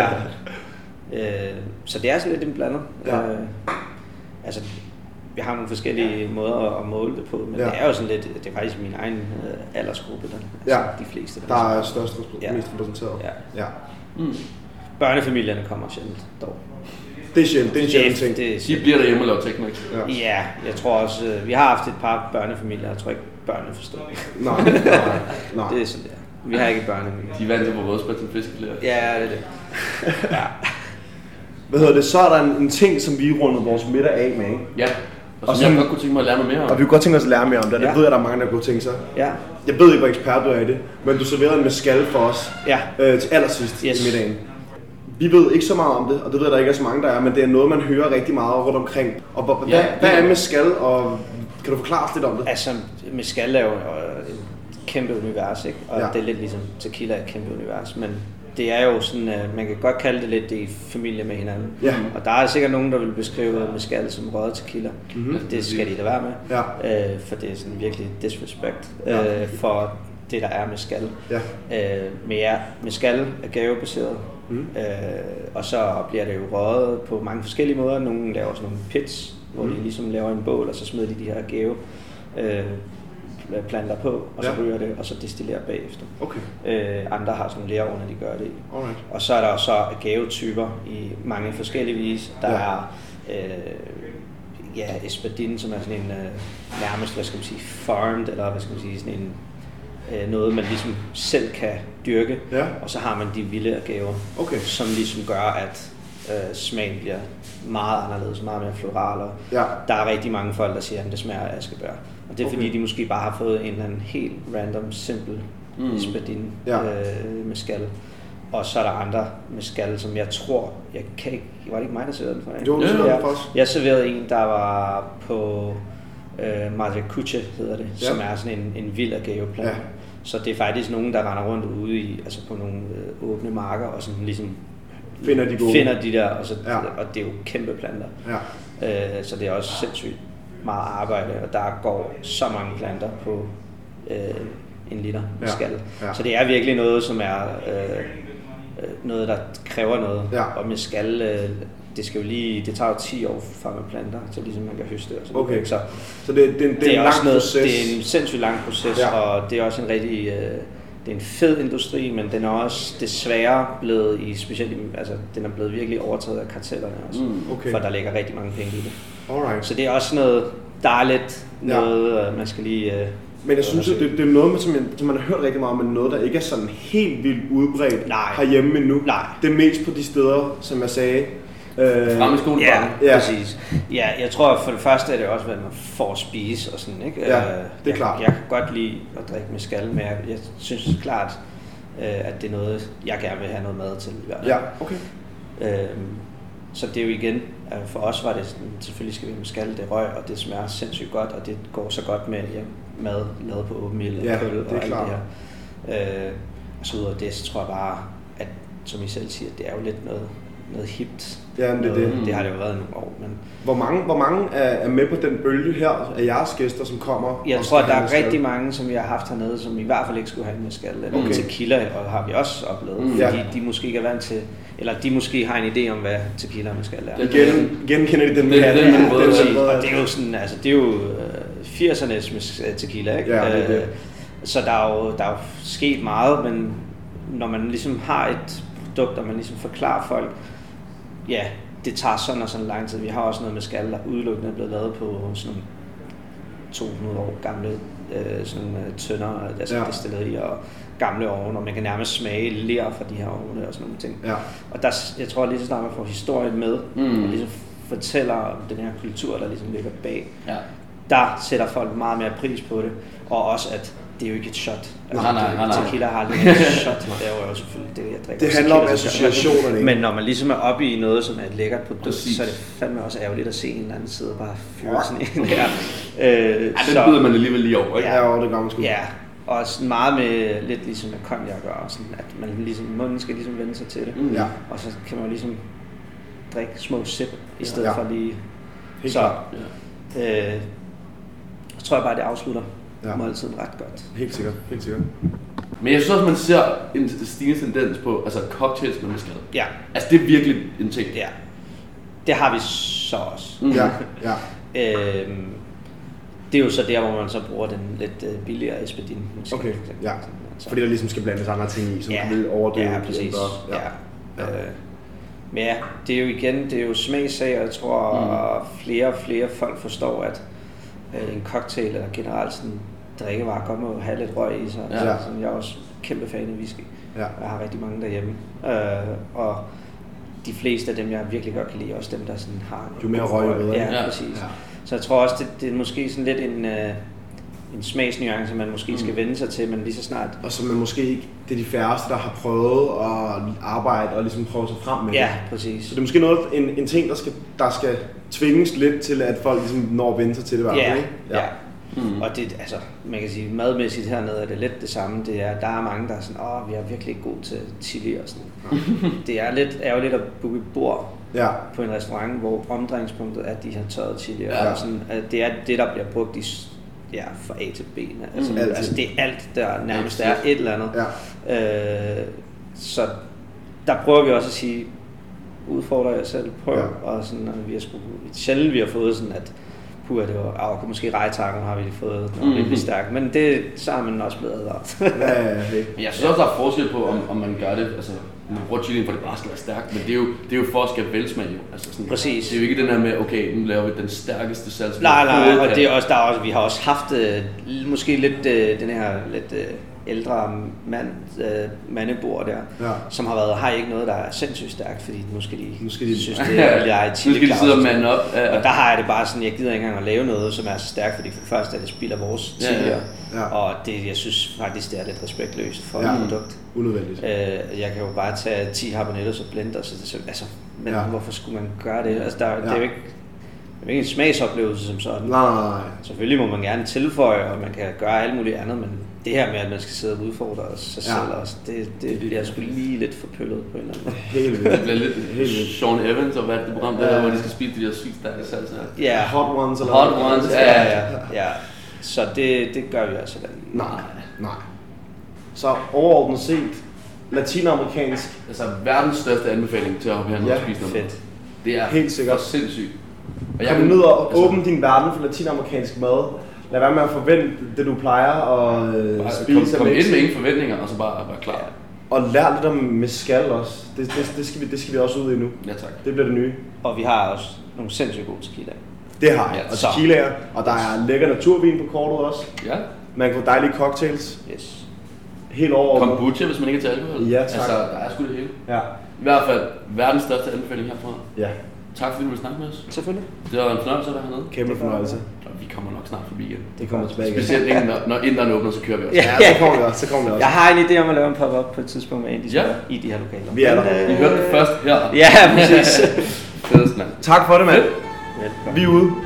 Speaker 4: *laughs*
Speaker 5: ja. Øh, så det er sådan lidt en blandet.
Speaker 3: Ja.
Speaker 5: Øh, altså, vi har nogle forskellige måder at, at måle det på, men
Speaker 3: Ja.
Speaker 5: ja. det er jo sådan lidt, det er faktisk min egen øh, aldersgruppe, der, altså
Speaker 3: Ja.
Speaker 5: de fleste.
Speaker 3: Der er størst repr-
Speaker 5: Ja.
Speaker 3: mest repræsenteret.
Speaker 5: Ja.
Speaker 3: ja.
Speaker 4: Mm.
Speaker 5: Børnefamilierne kommer sjældent dog.
Speaker 3: Det er sjældent, det er en sjældent ting.
Speaker 5: Det,
Speaker 4: De bliver derhjemme og laver teknik.
Speaker 3: Ja.
Speaker 5: ja, jeg tror også, øh, vi har haft et par børnefamilier, jeg tror ikke børnene forstår det.
Speaker 3: Nej, nej, nej.
Speaker 5: Det er sådan der. Vi har ikke børnefamilier.
Speaker 4: De er vant til på rødspil til fiskelærer.
Speaker 5: Ja, det er det. Ja.
Speaker 3: Hvad hedder det? Så er der en, en ting, som vi rundede vores middag af med, ikke?
Speaker 4: Ja. Og,
Speaker 3: Og
Speaker 4: som
Speaker 3: sådan-
Speaker 4: jeg godt kunne tænke mig at lære noget mere om.
Speaker 3: Og vi kunne godt tænke os at lære mere om det, og det
Speaker 5: Ja.
Speaker 3: ved jeg, der er mange, der kunne tænke sig.
Speaker 5: ja.
Speaker 3: Jeg ved ikke, hvor ekspert du er i det, men du serverede en skal for os
Speaker 5: Ja.
Speaker 3: øh, til allersidst yes.
Speaker 5: Yes.
Speaker 3: i middagen. Vi ved ikke så meget om det, og det ved jeg, der ikke er så mange, der er, men det er noget, man hører rigtig meget rundt omkring. Og hvor,
Speaker 4: Ja,
Speaker 3: ja, hvad, hvad
Speaker 4: det-
Speaker 3: er med skal, og kan du forklare os lidt om det?
Speaker 5: Altså, med skal er jo øh, et kæmpe univers, ikke? Og
Speaker 3: Ja.
Speaker 5: ja. det er lidt ligesom tequila er et kæmpe univers, men det er jo sådan, øh, man kan godt kalde det lidt det er i familie med hinanden.
Speaker 3: Ja.
Speaker 5: Og der er sikkert nogen, der vil beskrive mezcal som røget tequila.
Speaker 3: Mhm.
Speaker 5: Det skal de da være med, øh, for det er sådan virkelig disrespect
Speaker 3: Ja.
Speaker 5: øh, for det, der er med skal.
Speaker 3: Ja.
Speaker 5: Øh, men ja, med skal er gavebaseret,
Speaker 3: Mhm.
Speaker 5: mm. øh, og så bliver det jo røget på mange forskellige måder. Nogle laver sådan nogle pits, hvor
Speaker 3: Mhm.
Speaker 5: de ligesom laver en bål, og så smider de de her gave øh, planter på, og så
Speaker 3: Ja.
Speaker 5: ryger det, og så destillerer bagefter.
Speaker 3: Okay,
Speaker 5: Øh, andre har sådan nogle læreovne, de gør det i.
Speaker 3: alright.
Speaker 5: Og så er der jo så gavetyper i mange forskellige vis. Der
Speaker 3: Ja.
Speaker 5: ja. er øh, ja, Espadin, som er sådan en øh, nærmest, hvad skal man sige, farmed, eller hvad skal man sige, sådan en, øh, noget, man ligesom selv kan dyrke.
Speaker 3: Ja.
Speaker 5: Og så har man de vilde gaver,
Speaker 3: Okay.
Speaker 5: som ligesom gør, at øh, smagen bliver meget anderledes, meget mere floral. Og
Speaker 3: Ja.
Speaker 5: Der er rigtig mange folk, der siger, at det smager af askebær. Og det er
Speaker 3: Okay.
Speaker 5: okay. fordi, de måske bare har fået en eller anden helt random, simpel
Speaker 4: Mm.
Speaker 5: mm. spadin
Speaker 3: Ja.
Speaker 5: ja. øh, med skal. Og så er der andre med skal, som jeg tror, jeg kan ikke, var det ikke mig, der serverede den for jer?
Speaker 3: Jo, du
Speaker 4: Ja,
Speaker 3: serverede
Speaker 5: jeg,
Speaker 3: den for os.
Speaker 5: jeg serverede en, der var på øh, Maracuche, hedder det,
Speaker 3: Ja.
Speaker 5: ja. som er sådan en, en vild agaveplan.
Speaker 3: Ja.
Speaker 5: Ja. Så det er faktisk nogen, der render rundt ude i, altså på nogle øh, åbne marker, og sådan ligesom
Speaker 3: Finder de gode.
Speaker 5: finder de der, og, så,
Speaker 3: Ja.
Speaker 5: ja. og det er jo kæmpe planter.
Speaker 3: Ja.
Speaker 5: Øh, så det er også sindssygt meget arbejde, og der går så mange planter på øh, en liter
Speaker 3: Ja,
Speaker 5: ja. skal.
Speaker 3: ja.
Speaker 5: Ja. Så det er virkelig noget, som er øh, øh, noget, der kræver noget.
Speaker 3: Ja.
Speaker 5: Og med skal, øh, det skal jo lige, det tager jo 10 år fra med planter, så ligesom man kan høste. Og så videre.
Speaker 3: Okay.
Speaker 5: Så
Speaker 3: Så det, det, det, det,
Speaker 5: det, det er,
Speaker 3: en
Speaker 5: er
Speaker 3: lang
Speaker 5: også noget,
Speaker 3: proces.
Speaker 5: det er en sindssygt lang proces,
Speaker 3: Ja.
Speaker 5: ja. og det er også en rigtig, øh, det er en fed industri, men den er også desværre blevet i, specielt, i- altså den er blevet virkelig overtaget af kartellerne også,
Speaker 4: Mm,
Speaker 3: okay.
Speaker 5: for der ligger rigtig mange penge i det.
Speaker 3: Alright.
Speaker 5: Så det er også noget, der er lidt
Speaker 3: Ja.
Speaker 5: noget, øh, man skal lige... Øh,
Speaker 3: Men jeg synes, jo, det, det er noget, som, jeg, som man har hørt rigtig meget om, men noget, der ikke er sådan helt vildt udbredt
Speaker 5: Nej.
Speaker 3: herhjemme endnu.
Speaker 5: Nej.
Speaker 3: Det er mest på de steder, som jeg sagde. Øh,
Speaker 4: Frem i skolen
Speaker 5: Ja,
Speaker 4: bare.
Speaker 3: Ja.
Speaker 5: ja, præcis. Ja, jeg tror for det første er det også, hvad man får at spise og sådan, ikke?
Speaker 3: Ja,
Speaker 5: Øh,
Speaker 3: det er
Speaker 5: jeg,
Speaker 3: klart.
Speaker 5: Jeg kan godt lide at drikke med skal, men jeg, jeg synes klart, øh, at det er noget, jeg gerne vil have noget mad til i hvert fald.
Speaker 3: ja, okay.
Speaker 5: Øhm, Så det er jo igen, øh, for os var det sådan, selvfølgelig skal vi med skalle, det røg, og det smager sindssygt godt, og det går så godt med ja, mad lavet på åben ild og
Speaker 3: Ja,
Speaker 5: kul
Speaker 3: det er
Speaker 5: og alt
Speaker 3: klart.
Speaker 5: det her. Øh, og så ud over det, så tror jeg bare, at som I selv siger, det er jo lidt noget, noget hipt.
Speaker 3: Ja, men det er
Speaker 5: noget,
Speaker 3: det.
Speaker 5: det har det jo været i nogle år, men
Speaker 3: Hvor mange, hvor mange er, er med på den bølge her af jeres gæster, som kommer?
Speaker 5: Jeg
Speaker 3: og
Speaker 5: tror,
Speaker 3: skal
Speaker 5: at der
Speaker 3: have
Speaker 5: er
Speaker 3: en
Speaker 5: rigtig mange, som vi har haft hernede, som i hvert fald ikke skulle have en skal. Eller
Speaker 3: Okay.
Speaker 5: okay. tequila og har vi også oplevet,
Speaker 4: Mm.
Speaker 5: mm. fordi
Speaker 3: Ja.
Speaker 5: de måske ikke er vant til, eller de måske har en idé om, hvad tequila og skal er.
Speaker 4: Ja,
Speaker 5: Ja.
Speaker 3: Igen, igen kender de den
Speaker 4: Det er den med den røde
Speaker 5: Præcis.
Speaker 3: røde.
Speaker 5: Og det er jo sådan, altså det er jo øh, 80'ernes med øh, tequila, ikke?
Speaker 3: Ja, det er det.
Speaker 5: Øh, Så der er, jo, der er jo sket meget, men når man ligesom har et produkt, og man ligesom forklarer folk, ja, det tager sådan og sådan lang tid. Vi har også noget med skal, der udelukkende er blevet lavet på sådan nogle 200 år gamle øh, sådan nogle, øh, tønder, altså
Speaker 3: Ja.
Speaker 5: ja. destillerier og gamle ovne, og man kan nærmest smage ler fra de her ovne og sådan nogle ting.
Speaker 3: Ja.
Speaker 5: Og der, jeg tror lige så snart man får historien med,
Speaker 4: Mm.
Speaker 5: mm. og ligesom fortæller om den her kultur, der ligesom ligger bag,
Speaker 4: Ja.
Speaker 5: der sætter folk meget mere pris på det, og også at det er jo ikke et shot.
Speaker 4: Nej,
Speaker 5: Altså,
Speaker 4: nej, nej, nej.
Speaker 5: Tequila har
Speaker 4: *laughs*
Speaker 5: aldrig været et shot, det er jo selvfølgelig det, jeg drikker.
Speaker 3: Det handler om
Speaker 5: Tequila, så gør jeg det.
Speaker 3: associationerne, ikke?
Speaker 5: Men når man ligesom er oppe i noget, som er et lækkert produkt,
Speaker 4: Præcis.
Speaker 5: Præcis. så er det fandme også ærgerligt at se en eller anden sidde og bare
Speaker 3: Ja.
Speaker 5: fyre sådan en her. Øh,
Speaker 4: Ej, den bider man alligevel lige over, ikke?
Speaker 3: Ja, jo, det gør man sgu.
Speaker 5: Ja, og sådan meget med lidt ligesom med konjak og sådan, at man ligesom, munden skal ligesom vende sig til det.
Speaker 4: Mm.
Speaker 3: Ja.
Speaker 5: Og så kan man jo ligesom drikke små sip, i stedet
Speaker 3: Ja.
Speaker 5: ja. for lige...
Speaker 3: Helt
Speaker 5: så
Speaker 3: klart.
Speaker 4: Ja.
Speaker 5: øh, så tror jeg bare, det afslutter
Speaker 3: Ja.
Speaker 5: ja. måltiden ret godt.
Speaker 3: Helt sikkert, helt sikkert.
Speaker 4: Men jeg synes også, man ser en stigende tendens på altså cocktails med mezcal.
Speaker 5: Ja,
Speaker 4: Altså, det er virkelig en ting.
Speaker 5: ja. Det har vi så også.
Speaker 4: Mm.
Speaker 3: Ja, ja.
Speaker 5: Øhm, det er jo så der, hvor man så bruger den lidt øh, billigere Espedin. måske.
Speaker 3: Okay, ja.
Speaker 5: Så-
Speaker 3: Fordi der ligesom skal blandes andre ting i, som ja. vil overdøve.
Speaker 5: Ja,
Speaker 3: de
Speaker 5: præcis.
Speaker 3: andre.
Speaker 5: Ja.
Speaker 3: ligesom Ja.
Speaker 5: Ja. Øh, men ja, det er jo igen, det er jo smagsag, og jeg tror, mm. flere og flere folk forstår, at øh, en cocktail eller generelt sådan drikkevarer godt må have lidt røg i sig.
Speaker 4: Ja.
Speaker 5: Ja. Sådan, jeg er også kæmpe fan af whisky.
Speaker 3: Ja.
Speaker 5: Jeg har rigtig mange derhjemme. Øh, og de fleste af dem, jeg virkelig godt kan lide, er også dem, der sådan har...
Speaker 3: Jo mere røg, jo bedre,
Speaker 5: Ja,
Speaker 4: ikke? Ja.
Speaker 5: ja, præcis.
Speaker 3: Ja.
Speaker 5: Ja. Så jeg tror også, det, det er måske sådan lidt en, øh, en smagsnuance, man måske mm. skal vende sig til, men lige så snart
Speaker 3: Og som man måske ikke, det er de færreste, der har prøvet at arbejde og ligesom prøve sig frem med
Speaker 5: Ja,
Speaker 3: det.
Speaker 5: præcis.
Speaker 3: Så det er måske noget, en, en ting, der skal, der skal tvinges lidt til, at folk ligesom når at vende sig til det. i hvert fald,
Speaker 5: Ja,
Speaker 3: ikke?
Speaker 5: ja. Mm. Og det, altså, man kan sige, madmæssigt hernede er det lidt det samme. Det er, der er mange, der er sådan, åh, vi er virkelig ikke gode til chili og sådan Det er lidt ærgerligt at booke et bord
Speaker 3: ja.
Speaker 5: på en restaurant, hvor omdrejningspunktet er de her tørrede chili.
Speaker 4: Ja.
Speaker 5: Ja. Og sådan, at det er det, der bliver brugt i, s- ja, fra A til B. Altså,
Speaker 4: Mm.
Speaker 5: mm. altså det er alt, der nærmest er et eller andet.
Speaker 3: Ja.
Speaker 5: Øh, så der prøver vi også at sige, udfordrer jer selv, prøv.
Speaker 3: Ja.
Speaker 5: Ja. Og sådan, at vi har sgu, sjældent vi har fået sådan, at puha, det var, ah, okay, måske rejtakken har vi fået den mm-hmm.
Speaker 4: Mhm.
Speaker 5: rimelig stærk, men det, så er man også blevet advaret.
Speaker 3: Ja, ja, *laughs* ja, det.
Speaker 4: Men jeg synes også, der er forskel på, om, om man gør det, altså man bruger chilien, for det bare skal være stærkt, men det er jo, det er jo for at skabe velsmag jo. Altså sådan,
Speaker 5: Præcis.
Speaker 4: Det er jo ikke den her med, okay, nu laver vi den stærkeste salsa.
Speaker 5: nej, nej, og det er
Speaker 4: *laughs*
Speaker 5: også, der er også, vi har også haft øh, måske lidt øh, den her lidt øh, ældre mand, øh, mandebord der,
Speaker 3: Ja.
Speaker 5: som har været, har I ikke noget, der er sindssygt stærkt, fordi nu skal de,
Speaker 3: Nu skal de- *laughs*
Speaker 5: synes, det er, jeg er
Speaker 4: Nu skal de sidde og mande op. Ja,
Speaker 5: Og der har jeg det bare sådan, jeg gider ikke engang at lave noget, som er så stærkt, fordi for det første er det spilder vores
Speaker 4: Ja, ja,
Speaker 5: tidligere,
Speaker 3: ja.
Speaker 5: og det, jeg synes faktisk, det er lidt respektløst for
Speaker 3: Ja.
Speaker 5: ja. et produkt.
Speaker 3: Unødvendigt.
Speaker 5: Øh, jeg kan jo bare tage 10 habaneros og blende, og så det så- altså, men
Speaker 3: Ja.
Speaker 5: ja. hvorfor skulle man gøre det? Altså, der, ja. det, er jo ikke, det er jo ikke en smagsoplevelse som sådan.
Speaker 3: Nej, nej, nej.
Speaker 5: Selvfølgelig må man gerne tilføje, og man kan gøre alt muligt andet, men det her med, at man skal sidde og udfordre sig
Speaker 3: Ja.
Speaker 5: ja. selv, også, det, det bliver sgu lige lidt forpøllet på en eller anden måde.
Speaker 3: Helt
Speaker 4: det
Speaker 3: vildt.
Speaker 4: bliver lidt
Speaker 3: Helt vildt.
Speaker 4: Sean Evans og hvad er det program, der
Speaker 3: Ja.
Speaker 4: hedder, hvor de skal spise de der sygt stærke salsa.
Speaker 5: Ja,
Speaker 3: Hot ones eller
Speaker 4: Hot
Speaker 3: hvad?
Speaker 4: ones,
Speaker 5: ja, ja, ja. Så det, det gør vi altså også. heller ikke.
Speaker 3: Nej, nej. Så overordnet set, latinamerikansk,
Speaker 4: Altså verdens største anbefaling til at hoppe herned
Speaker 3: Ja,
Speaker 4: og spise noget.
Speaker 5: Fedt.
Speaker 4: Det er
Speaker 3: Helt sikkert.
Speaker 4: for sindssygt. Og altså,
Speaker 3: kom ned og åbne din verden for latinamerikansk mad. Lad være med at forvente det, du plejer at øh,
Speaker 4: Bare
Speaker 3: spise
Speaker 4: Kom,
Speaker 3: af
Speaker 4: kom ind med
Speaker 3: Mexico.
Speaker 4: ingen forventninger, og så bare være klar.
Speaker 3: Og lær lidt om mezcal også. Det, det, det, skal vi, det skal vi også ud i nu.
Speaker 4: Ja, tak.
Speaker 3: Det bliver det nye.
Speaker 5: Og vi har også nogle sindssygt gode tequila.
Speaker 3: Det har jeg.
Speaker 4: Ja,
Speaker 3: Og
Speaker 5: så.
Speaker 3: tequilaer. Og der er lækker naturvin på kortet også.
Speaker 4: Ja.
Speaker 3: Man kan få dejlige cocktails.
Speaker 5: Yes.
Speaker 3: Helt over.
Speaker 4: Kombucha, hvis man ikke er til alkohol.
Speaker 3: Ja, tak.
Speaker 4: Altså, der er sgu det hele.
Speaker 3: Ja.
Speaker 4: I hvert fald verdens største anbefaling herfra.
Speaker 3: Ja.
Speaker 4: Tak fordi du ville snakke med os.
Speaker 5: Selvfølgelig.
Speaker 4: Det var en fornøjelse at være hernede.
Speaker 3: Kæmpe fornøjelse.
Speaker 4: Og vi kommer nok snart forbi igen.
Speaker 3: Det kommer tilbage igen.
Speaker 4: Specielt inden, når, når inderen åbner, så kører vi også.
Speaker 5: Ja.
Speaker 3: Ja, så kommer vi også. Så kommer vi også.
Speaker 5: Jeg har en idé om at lave en pop-up på et tidspunkt med indisk
Speaker 4: Ja.
Speaker 5: ja. i de her lokaler.
Speaker 3: Vi er der.
Speaker 5: Men,
Speaker 4: I
Speaker 5: øh,
Speaker 3: *laughs*
Speaker 4: hørte det først her.
Speaker 5: Ja, præcis. Tak for det, mand.
Speaker 6: Velkommen.
Speaker 5: Vi er ude.